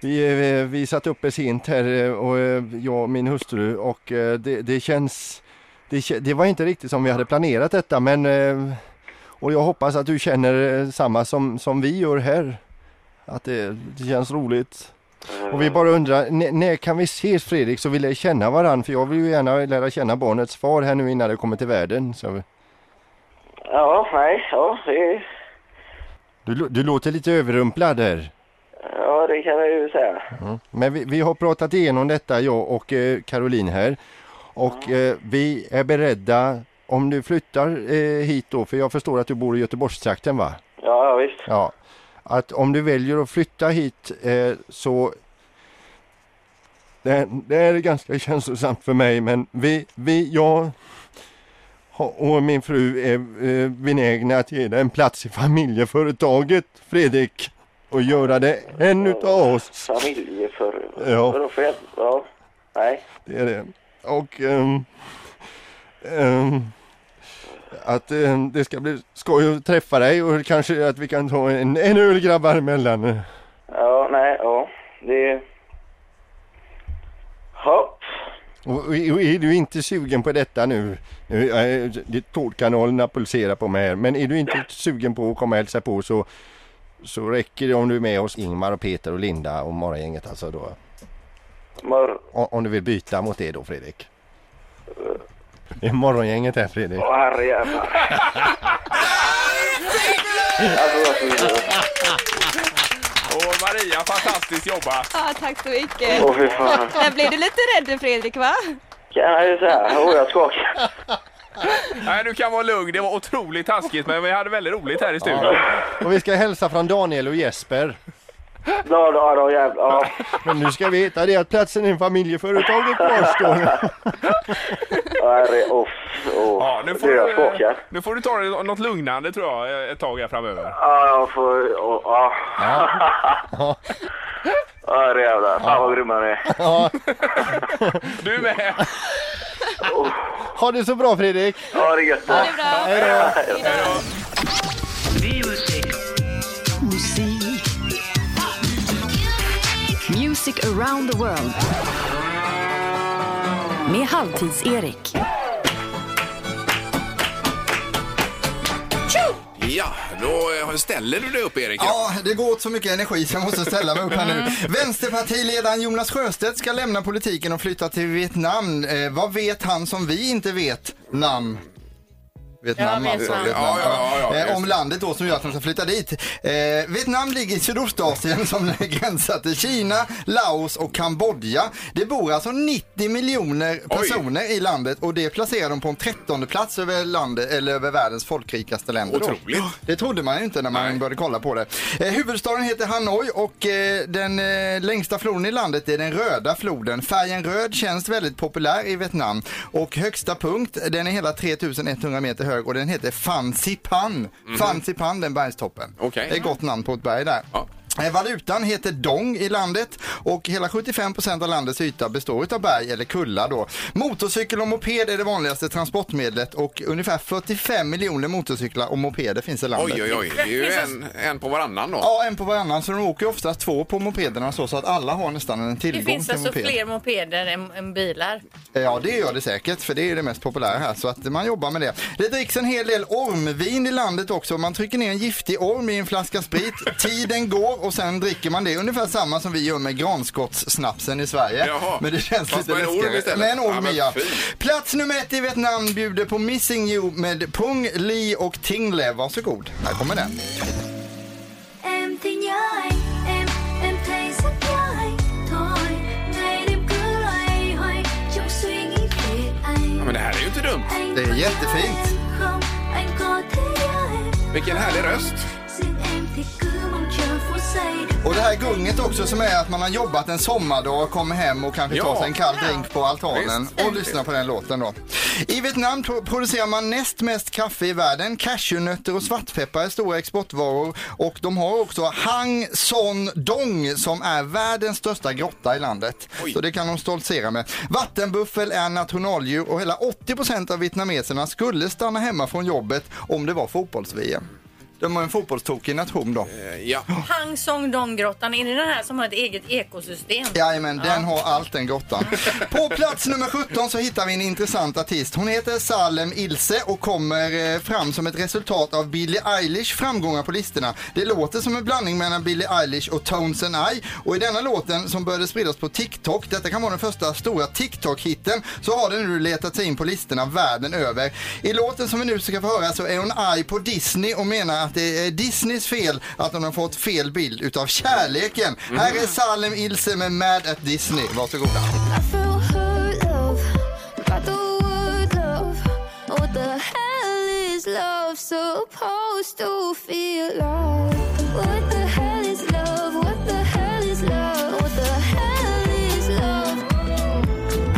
[SPEAKER 12] vi, eh, vi satt uppe sent här eh, och eh, jag och min hustru och eh, det, det känns det, kä- det var inte riktigt som vi hade planerat detta men eh, och jag hoppas att du känner eh, samma som, som vi gör här. Att det, det känns roligt. Och vi bara undrar, n- när kan vi ses Fredrik så vi lär känna varandra? För jag vill ju gärna lära känna barnets far här nu innan det kommer till världen. Så.
[SPEAKER 10] Ja, nej, ja det,
[SPEAKER 12] Du, lå- du låter lite överrumplad här.
[SPEAKER 10] ja, det kan jag ju säga.
[SPEAKER 12] Mm. Men vi, vi har pratat igenom detta, jag och eh, Caroline här. Och eh, vi är beredda, om du flyttar eh, hit då, för jag förstår att du bor i Göteborgstrakten va?
[SPEAKER 10] Ja, ja visst.
[SPEAKER 12] Ja. Att om du väljer att flytta hit eh, så... Det, det är ganska känslosamt för mig men vi, vi, jag ha- och min fru är eh, benägna att ge dig en plats i familjeföretaget Fredrik. Och göra det en utav oss.
[SPEAKER 10] Familjeför...
[SPEAKER 12] Ja.
[SPEAKER 10] Vadå för jävla- Ja, nej.
[SPEAKER 12] Det är det. Och ehm, ehm, att ehm, det ska bli skoj att träffa dig och kanske att vi kan ta en, en öl grabbar emellan.
[SPEAKER 10] Ja, nej, ja. Det... Ja,
[SPEAKER 12] Och, och, och är du inte sugen på detta nu, nu eh, det- tårtkanalerna pulserar på mig här, men är du inte sugen på att komma och hälsa på så, så räcker det om du är med oss Ingmar och Peter och Linda och morgongänget alltså då.
[SPEAKER 10] mör...
[SPEAKER 12] Om, om du vill byta mot det då Fredrik. Det är morgongänget här Fredrik.
[SPEAKER 10] Åh, herrejävlar. alltså,
[SPEAKER 1] Och Maria, fantastiskt jobbat!
[SPEAKER 11] Ja, tack så mycket.
[SPEAKER 10] Åh, fy fan.
[SPEAKER 11] Där blev du lite rädd Fredrik va?
[SPEAKER 10] kan jag ju säga. Åh, jag skakar.
[SPEAKER 1] Nej, du kan vara lugn. Det var otroligt taskigt, men vi hade väldigt roligt här i studion.
[SPEAKER 12] Och vi ska hälsa från Daniel och Jesper.
[SPEAKER 10] Ja, då, då, jävlar. Ja.
[SPEAKER 12] Men nu ska vi veta det att platsen i familjeföretaget kvarstår.
[SPEAKER 10] Åh, herre... Åh, åh.
[SPEAKER 1] Ja, nu får,
[SPEAKER 10] du, jag
[SPEAKER 1] du, eh,
[SPEAKER 10] skakar.
[SPEAKER 1] nu får du ta dig något lugnande tror jag eh, ett tag här framöver.
[SPEAKER 10] Ja, jag får... åh, Ja.
[SPEAKER 12] Ja.
[SPEAKER 10] Åh, herrejävlar. Fan vad grymma ni är.
[SPEAKER 12] Ja.
[SPEAKER 1] Du med!
[SPEAKER 12] Ha det så bra Fredrik!
[SPEAKER 10] Ha det gött.
[SPEAKER 12] Ha det bra. Hej då.
[SPEAKER 10] Hej då.
[SPEAKER 4] Musik. Music around the world. Med Halvtids-Erik.
[SPEAKER 1] Ja, då eh, ställer du dig upp Erik.
[SPEAKER 3] Ja, det går åt så mycket energi så jag måste ställa mig upp här
[SPEAKER 7] Mm.
[SPEAKER 3] nu. Vänsterpartiledaren Jonas Sjöstedt ska lämna politiken och flytta till Vietnam. Eh, vad vet han som vi inte vet? Nam. Vietnam
[SPEAKER 7] Ja,
[SPEAKER 3] alltså.
[SPEAKER 7] Vietnam.
[SPEAKER 3] Vietnam.
[SPEAKER 7] Ja, ja, ja, ja,
[SPEAKER 3] Eh,
[SPEAKER 7] just
[SPEAKER 3] Om
[SPEAKER 7] det.
[SPEAKER 3] landet då som gör att de ska flytta dit. Eh, Vietnam ligger i Sydostasien som gränsar till Kina, Laos och Kambodja. Det bor alltså 90 miljoner personer i landet och det placerar de på en trettonde plats över, landet, eller över världens folkrikaste länder. då.
[SPEAKER 1] Otroligt.
[SPEAKER 3] Det trodde man ju inte när man började kolla på det. Eh, huvudstaden heter Hanoi och eh, den eh, längsta floden i landet är den röda floden. Färgen röd känns väldigt populär i Vietnam. Och högsta punkt, den är hela 3100 meter hög och den heter Phan Xipan. Phan Xipan, den bergstoppen.
[SPEAKER 1] Okej.
[SPEAKER 3] Det är ett gott namn på ett berg där. Eh, Valutan heter dong i landet och hela 75% av landets yta består av berg eller kullar då. Motorcykel och moped är det vanligaste transportmedlet och ungefär 45 miljoner motorcyklar och mopeder finns i landet.
[SPEAKER 1] Oj, oj, oj. Det är ju en, en på varannan då.
[SPEAKER 3] Ja, en på varannan så de åker ju oftast två på mopederna så, så att alla har nästan en
[SPEAKER 2] Det
[SPEAKER 3] tillgång
[SPEAKER 2] finns
[SPEAKER 3] till
[SPEAKER 2] alltså
[SPEAKER 3] moped.
[SPEAKER 2] fler mopeder än, än bilar.
[SPEAKER 3] Ja, det gör det säkert, för det är det mest populära här, så att man jobbar med det. Det dricks en hel del ormvin i landet också. Man trycker ner en giftig orm i en flaska sprit, tiden går och sen dricker man det. Ungefär samma som vi gör med granskottssnapsen i Sverige.
[SPEAKER 7] Jaha.
[SPEAKER 3] Men det känns
[SPEAKER 7] Fast
[SPEAKER 3] lite
[SPEAKER 7] med en orm
[SPEAKER 3] läskigare.
[SPEAKER 7] istället.
[SPEAKER 3] Med en
[SPEAKER 7] Ja,
[SPEAKER 3] orm,
[SPEAKER 7] men
[SPEAKER 3] ja.
[SPEAKER 7] fy.
[SPEAKER 3] Plats nummer ett i Vietnam bjuder på Missing You med Pung, Li och Tingle. Varsågod, här kommer den.
[SPEAKER 7] Em thì nhớ anh, em em thấy rất nhớ anh. Thôi, ngày đêm cứ loay hoay trong suy nghĩ về anh.
[SPEAKER 1] Ja, men det här är ju inte dumt.
[SPEAKER 3] Det är jättefint.
[SPEAKER 7] Không, anh có thể nhớ em.
[SPEAKER 1] Vilken härlig röst.
[SPEAKER 7] Riêng em thì cứ mong chờ phút giây được
[SPEAKER 3] Och det här gunget också som är att man har jobbat en sommardag, kommer hem och kanske
[SPEAKER 7] Ja.
[SPEAKER 3] tar sig en kall drink på altanen
[SPEAKER 7] Visst.
[SPEAKER 3] och lyssnar på den låten då. I Vietnam pro- producerar man näst mest kaffe i världen. Cashewnötter och svartpeppar är stora exportvaror och de har också Hang Son Dong som är världens största grotta i landet. Så det kan de stoltsera med. Vattenbuffel är nationaldjur och hela 80 procent av vietnameserna skulle stanna hemma från jobbet om det var fotbolls-VM. De har en fotbollstokig nation då.
[SPEAKER 1] Eh, Ja.
[SPEAKER 2] Hang Song Dong-grottan, är det den här som har ett eget ekosystem?
[SPEAKER 3] Jajamän, den har allt den grottan. På plats nummer 17 så hittar vi en intressant artist. Hon heter Salem Ilse och kommer eh, fram som ett resultat av Billie Eilish framgångar på listorna. Det låter som en blandning mellan Billie Eilish och Tones and I. Och i denna låten som började spridas på TikTok, detta kan vara den första stora TikTok-hitten, så har den nu letat sig in på listorna världen över. I låten som vi nu ska få höra så är hon arg på Disney och menar att det är Disneys fel att de har fått fel bild utav kärleken. Här är Salem Ilse med Mad at Disney. Varsågoda.
[SPEAKER 7] I feel hurt, love, by the word love. What the hell is love supposed to feel like? What the hell is love? What the hell is love? What the hell is love?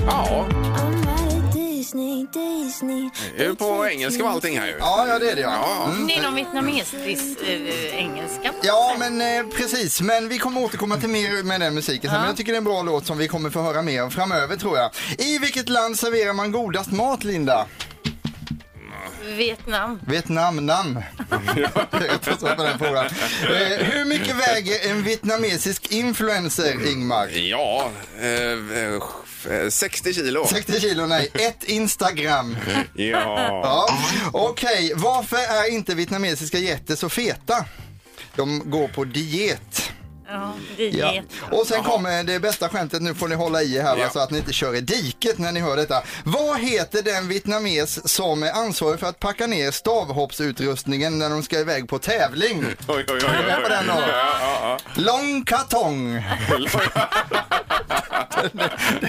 [SPEAKER 1] Ja.
[SPEAKER 7] I'm at a Disney, Disney.
[SPEAKER 1] Det är ju på engelska och allting här ju.
[SPEAKER 3] Ja, ja, det är det, ja. Mm.
[SPEAKER 2] Det är någon vietnamesisk eh, engelska.
[SPEAKER 3] Ja, men eh, precis. Men vi kommer återkomma till mer med den musiken sen. Men jag tycker det är en bra låt som vi kommer få höra mer om framöver tror jag. I vilket land serverar man godast mat, Linda?
[SPEAKER 2] Vietnam.
[SPEAKER 3] Vietnam, nam. Rätt att svara på den frågan. Eh, hur mycket väger en vietnamesisk influencer, Ingmar?
[SPEAKER 1] Ja, eh, eh, 60 kilo.
[SPEAKER 3] 60 kilo, nej. Ett Instagram.
[SPEAKER 1] Ja.
[SPEAKER 3] Ja. Okej, varför är inte vietnamesiska getter så feta? De går på diet.
[SPEAKER 2] Ja, diet.
[SPEAKER 3] Ja. Och sen kommer det bästa skämtet, nu får ni hålla i er här va, så att ni inte kör i diket när ni hör detta. Vad heter den vietnames som är ansvarig för att packa ner stavhoppsutrustningen när de ska iväg på tävling?
[SPEAKER 1] Oj, oj, oj.
[SPEAKER 3] Är ni med på den då?
[SPEAKER 1] Ja,
[SPEAKER 3] Lång kartong.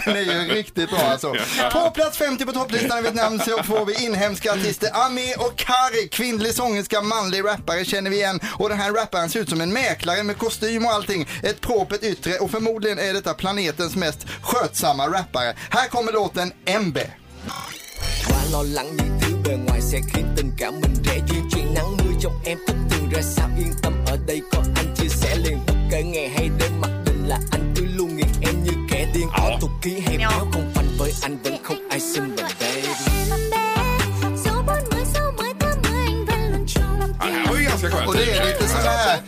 [SPEAKER 3] Den är ju riktigt bra alltså. På plats 50 på topplistan i Vietnam så får vi inhemska artister Ami och Kari. Kvinnlig sångerska, manlig rappare känner vi igen. Och den här rapparen ser ut som en mäklare med kostym och allting. Ett propert yttre och förmodligen är detta planetens mest skötsamma rappare. Här kommer låten MB.
[SPEAKER 13] quá lo lắng những thứ bề ngoài sẽ khiến tình cảm mình rẽ duyên chuyện nắng mưa trong em thất thường ra sao yên tâm ở đây có anh chia sẻ liền bất kể ngày hay đêm mặc định là anh cứ luôn nghiền em như kẻ điên có tục khí hay béo không phanh với anh vẫn không ai xinh bằng baby
[SPEAKER 7] Dẫu bốn mươi, dẫu mới tám mươi, anh vẫn luôn trong lòng
[SPEAKER 1] Det här var ju ganska skönt.
[SPEAKER 3] Och det är lite så här.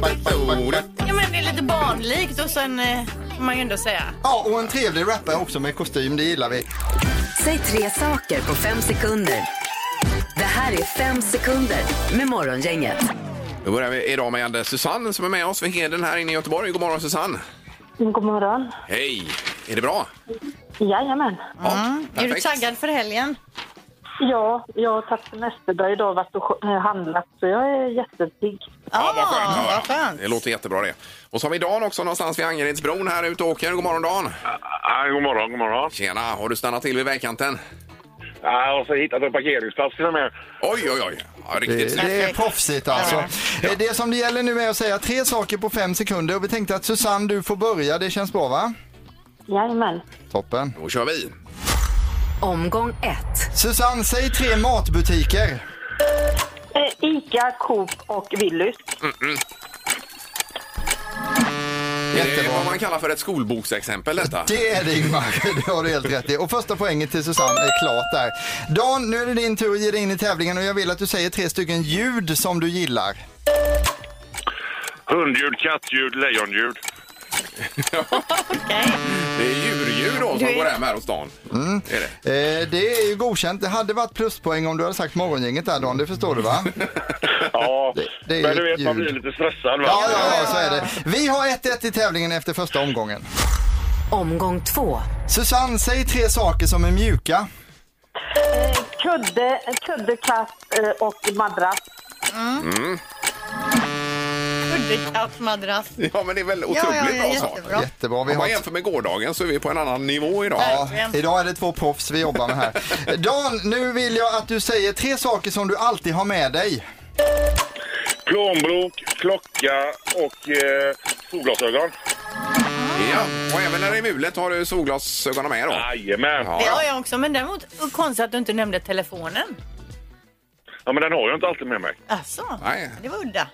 [SPEAKER 2] Ja, men det är lite barnlikt och sen eh, får man ju ändå säga.
[SPEAKER 3] Ja, och en trevlig rappare också med kostym, det gillar vi.
[SPEAKER 4] Säg tre saker på fem sekunder. Det här är fem sekunder med Morgongänget.
[SPEAKER 1] Då börjar vi idag med Susanne som är med oss vid Heden här inne i Göteborg. God morgon Susanne!
[SPEAKER 14] Mm, God morgon.
[SPEAKER 1] Hej! Är det bra?
[SPEAKER 14] Jajamän.
[SPEAKER 2] Mm. Är du
[SPEAKER 1] perfekt.
[SPEAKER 2] taggad för helgen?
[SPEAKER 14] Ja, jag har tagit semesterdag idag och varit och eh, handlat så jag är jättepigg.
[SPEAKER 1] Ja, vad skönt. Det låter jättebra det. Och så har vi Dan också någonstans vid Angeredsbron här ute och åker. God morgon Dan!
[SPEAKER 15] Ja, god morgon, god morgon.
[SPEAKER 1] Tjena! Har du stannat till vid vägkanten?
[SPEAKER 15] Ja, jag har så hittat en parkeringsplats till och med.
[SPEAKER 1] Oj, oj, oj! Ja,
[SPEAKER 3] Det,
[SPEAKER 1] riktigt
[SPEAKER 3] Eh, det är proffsigt alltså. Eh, Det som det gäller nu är att säga tre saker på fem sekunder och vi tänkte att Susanne du får börja, det känns bra va?
[SPEAKER 14] Jajamän.
[SPEAKER 3] Toppen.
[SPEAKER 1] Då kör vi.
[SPEAKER 4] Omgång ett.
[SPEAKER 3] Susanne, säg tre matbutiker.
[SPEAKER 14] Eh, Ica, Coop och Willys.
[SPEAKER 1] Det är vad man kallar för ett skolboksexempel detta.
[SPEAKER 3] Det är det Ingmar, det har du helt rätt i. Och första poängen till Susanne är klart där. Dan, nu är det din tur att ge dig in i tävlingen och jag vill att du säger tre stycken ljud som du gillar.
[SPEAKER 15] Hundljud, kattljud, lejonljud.
[SPEAKER 1] Det är djurljud då som går hem här hos Dan. Det är det.
[SPEAKER 3] Eh, det är ju godkänt. Det hade varit pluspoäng om du hade sagt morgongänget där Dan, det förstår du va?
[SPEAKER 15] Ja,
[SPEAKER 3] det är
[SPEAKER 15] men du
[SPEAKER 3] ju
[SPEAKER 15] vet, man
[SPEAKER 3] ljud.
[SPEAKER 15] blir lite stressad. Va?
[SPEAKER 3] Ja, ja, ja, så är det. Vi har 1-1 i tävlingen efter första omgången.
[SPEAKER 4] Omgång två.
[SPEAKER 3] Susanne, säg tre saker som är mjuka.
[SPEAKER 14] Eh, Kudde, kudde, katt eh, och madrass.
[SPEAKER 1] Mm.
[SPEAKER 2] Huddekatt, madrass.
[SPEAKER 1] Ja, men det är väl
[SPEAKER 2] Ja, ja,
[SPEAKER 1] otroligt
[SPEAKER 2] ja,
[SPEAKER 1] bra svar.
[SPEAKER 2] jättebra.
[SPEAKER 3] Jättebra. Vi
[SPEAKER 1] Om man
[SPEAKER 3] har-
[SPEAKER 1] jämför med gårdagen så är vi på en annan nivå idag.
[SPEAKER 3] Ja, idag är det två proffs vi jobbar med här. Dan, nu vill jag att du säger tre saker som du alltid har med dig.
[SPEAKER 15] Plånbok, klocka och eh, solglasögon.
[SPEAKER 1] Ja, och även när det är mulet har du solglasögonen med då?
[SPEAKER 15] Jajamän.
[SPEAKER 2] Det har jag också, men däremot konstigt att du inte nämnde telefonen.
[SPEAKER 15] Ja, men den har jag inte alltid med mig.
[SPEAKER 2] Alltså,
[SPEAKER 1] Nej.
[SPEAKER 2] det var udda.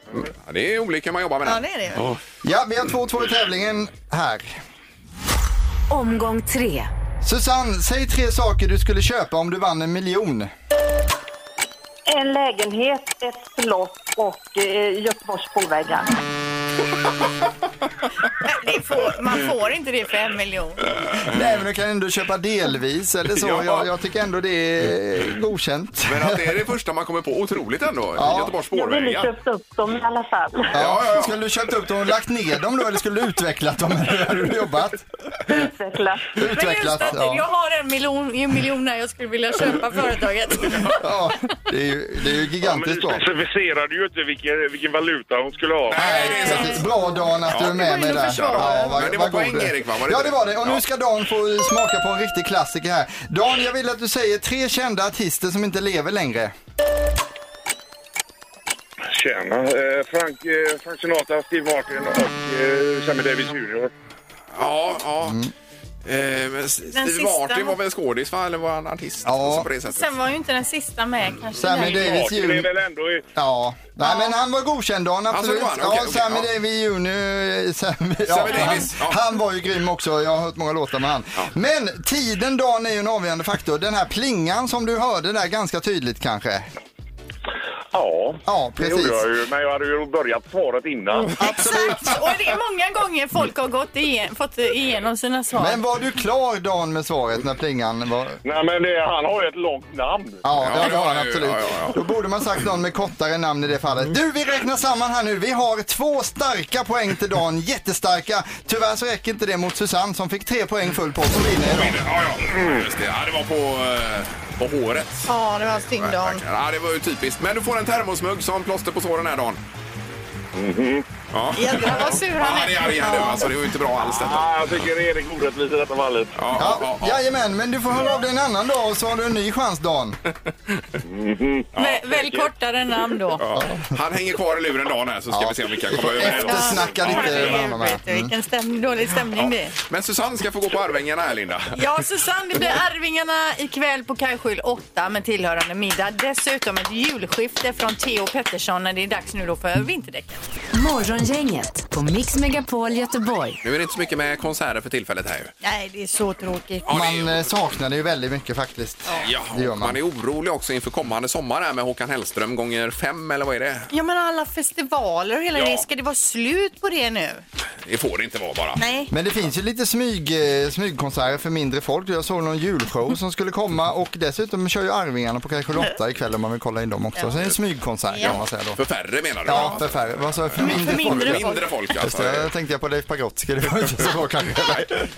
[SPEAKER 1] Ja, det är olika man jobbar med
[SPEAKER 2] Ja, det är det.
[SPEAKER 1] Ja.
[SPEAKER 3] Ja, vi har 2-2 i tävlingen här.
[SPEAKER 4] Omgång tre.
[SPEAKER 3] Susanne, säg tre saker du skulle köpa om du vann en miljon.
[SPEAKER 14] en lägenhet, ett slott och eh, Göteborgs Påvägar.
[SPEAKER 2] Man får inte det för en miljon.
[SPEAKER 3] Nej, men du kan ändå köpa delvis eller så.
[SPEAKER 1] Ja.
[SPEAKER 3] Jag, jag tycker ändå det är godkänt.
[SPEAKER 1] Men att det är det första man kommer på, otroligt ändå.
[SPEAKER 3] Ja.
[SPEAKER 1] Göteborgs
[SPEAKER 14] Jag ville
[SPEAKER 1] spårvägar.
[SPEAKER 14] köpt upp dem i alla fall.
[SPEAKER 3] Skulle du köpt upp dem och lagt ner dem då eller skulle du utvecklat dem? Hur har du jobbat?
[SPEAKER 14] Utvecklat.
[SPEAKER 3] Utvecklat,
[SPEAKER 2] Men just att jag
[SPEAKER 3] ja.
[SPEAKER 2] har en miljon, en miljon när jag skulle vilja köpa företaget.
[SPEAKER 3] ja. Det är ju, det är ju gigantiskt
[SPEAKER 15] Men
[SPEAKER 3] bra.
[SPEAKER 15] du specificerade ju inte vilken, vilken valuta hon skulle ha.
[SPEAKER 3] Bra Dan att du är med mig där. Ja, vad-
[SPEAKER 15] Men det var
[SPEAKER 3] vad god
[SPEAKER 15] poäng,
[SPEAKER 3] du är.
[SPEAKER 15] Erik, va? Var det
[SPEAKER 3] Ja
[SPEAKER 15] inte
[SPEAKER 3] det
[SPEAKER 15] det?
[SPEAKER 3] var det. Och
[SPEAKER 15] Ja.
[SPEAKER 3] nu ska Dan få smaka på en riktig klassiker här. Dan, jag vill att du säger tre kända artister som inte lever längre.
[SPEAKER 15] Tjena. Eh, Frank, eh, Frank Sinatra, Steve Martin och eh, Sammy Davis Jr.
[SPEAKER 1] Ja, ja. Eh, men S- Steve
[SPEAKER 2] sista-
[SPEAKER 1] Martin var väl en skådis va? Eller var han artist? Alltså, på det sättet.
[SPEAKER 2] Sen var ju inte den sista med kanske.
[SPEAKER 3] Sammy Davis jul. Ja. Nej, men han var godkänd Dan,
[SPEAKER 2] Alltså,
[SPEAKER 3] absolut.
[SPEAKER 2] det var han. Okej,
[SPEAKER 3] ja,
[SPEAKER 2] okej,
[SPEAKER 3] Sammy
[SPEAKER 2] ja.
[SPEAKER 3] Davis junior. eh, Sammy, ja,
[SPEAKER 1] Sammy
[SPEAKER 3] han,
[SPEAKER 1] Davis, ja.
[SPEAKER 3] han var ju grym också. Jag har hört många låtar med han. Men tiden Dan är ju en avgörande faktor. Den här plingan som du hörde där ganska tydligt kanske.
[SPEAKER 15] Ja,
[SPEAKER 3] ja
[SPEAKER 15] det
[SPEAKER 3] precis. Mm.
[SPEAKER 15] gjorde jag ju. Men jag hade ju börjat svaret innan.
[SPEAKER 2] Exakt! Och det är många gånger folk har gått igen, fått igenom sina svar.
[SPEAKER 3] Men var du klar Dan med svaret när plingan var...
[SPEAKER 15] Nej, men det, han har ju ett långt namn.
[SPEAKER 3] Ja, det var han absolut. Då borde man sagt någon med kortare namn i det fallet. Du, vi räknar samman här nu. Vi har två starka poäng till Dan, jättestarka. Tyvärr så räcker inte det mot Susanne som fick tre poäng full på som vinner idag.
[SPEAKER 1] Ja, ja. Just det. Ja, det var på, eh, på håret.
[SPEAKER 2] Ja, det var synd Dan.
[SPEAKER 1] Ja, det var ju typiskt. Men du får en termosmugg som plåster på såren här dagen. Ja.
[SPEAKER 2] Jädrar vad sur han
[SPEAKER 1] Ja, det är arg han är. Alltså, det var ju inte bra alls detta.
[SPEAKER 15] Ja, jag tycker Erik orättvis i detta fallet.
[SPEAKER 1] Ja,
[SPEAKER 3] Ja, jajamän, men du får höra av dig en annan dag och så har du en ny chans Dan.
[SPEAKER 2] Vä- Väl kortare namn då.
[SPEAKER 1] Han hänger kvar i luren dagen här så ska vi se om vi kan komma överens.
[SPEAKER 3] Eftersnacka
[SPEAKER 1] Eh,
[SPEAKER 3] lite med honom här.
[SPEAKER 2] Vet du,
[SPEAKER 1] Mm.
[SPEAKER 2] vilken stäm- dålig stämning det är.
[SPEAKER 1] Men Susanne ska få gå på Arvingarna här Linda.
[SPEAKER 2] Ja, Susanne, det blir Arvingarna ikväll på Kajskjul 8 med tillhörande middag. Dessutom ett julskifte från Theo Pettersson när det är dags nu då för vinterdäcken.
[SPEAKER 4] Morgongänget på Mix Megapol Göteborg.
[SPEAKER 1] Nu är det inte så mycket med konserter för tillfället här ju.
[SPEAKER 2] Nej, det är så tråkigt.
[SPEAKER 3] Man eh, saknar det ju väldigt mycket faktiskt.
[SPEAKER 1] Ja, och man. är orolig också inför kommande sommar här med Håkan Hellström gånger fem eller vad är det?
[SPEAKER 2] Ja, men alla festivaler och hela
[SPEAKER 1] Ja.
[SPEAKER 2] det. Ska det vara slut på det nu?
[SPEAKER 1] Det får det inte vara bara.
[SPEAKER 2] Nej.
[SPEAKER 3] Men det finns ju lite smyg, eh, smygkonserter för mindre folk. Jag såg någon julshow som skulle komma och dessutom kör ju Arvingarna på kanske 8 ikväll om man vill kolla in dem också. Så det är en smygkonsert kan man säga då.
[SPEAKER 1] För färre menar du?
[SPEAKER 3] Ja, för färre. Vad sa jag? För mindre folk.
[SPEAKER 1] Mindre folk
[SPEAKER 3] Just
[SPEAKER 1] alltså.
[SPEAKER 3] det, jag tänkte jag på Leif Pagrotsky. Det var inte så bra kanske.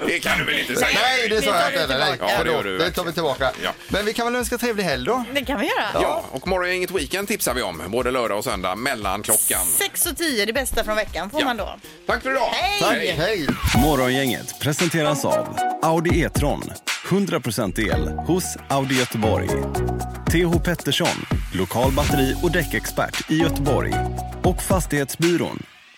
[SPEAKER 1] Det kan du väl inte säga?
[SPEAKER 3] Nej, det sa jag inte. Nej,
[SPEAKER 1] Ja, det gör
[SPEAKER 3] förlåt.
[SPEAKER 1] du
[SPEAKER 3] Det tar vi tillbaka. Men vi kan väl önska trevlig helg då?
[SPEAKER 2] Det kan vi göra.
[SPEAKER 1] Ja, och Morgongänget Weekend tipsar vi om, både lördag och söndag, mellan klockan.
[SPEAKER 2] 6 och 10, det bästa från veckan får man då.
[SPEAKER 1] Tack för idag!
[SPEAKER 3] Hej! Hej!
[SPEAKER 16] Morgongänget presenteras av Audi E-tron. 100% el hos Audi Göteborg. TH Pettersson, lokal batteri och däckexpert i Göteborg. Och Fastighetsbyrån,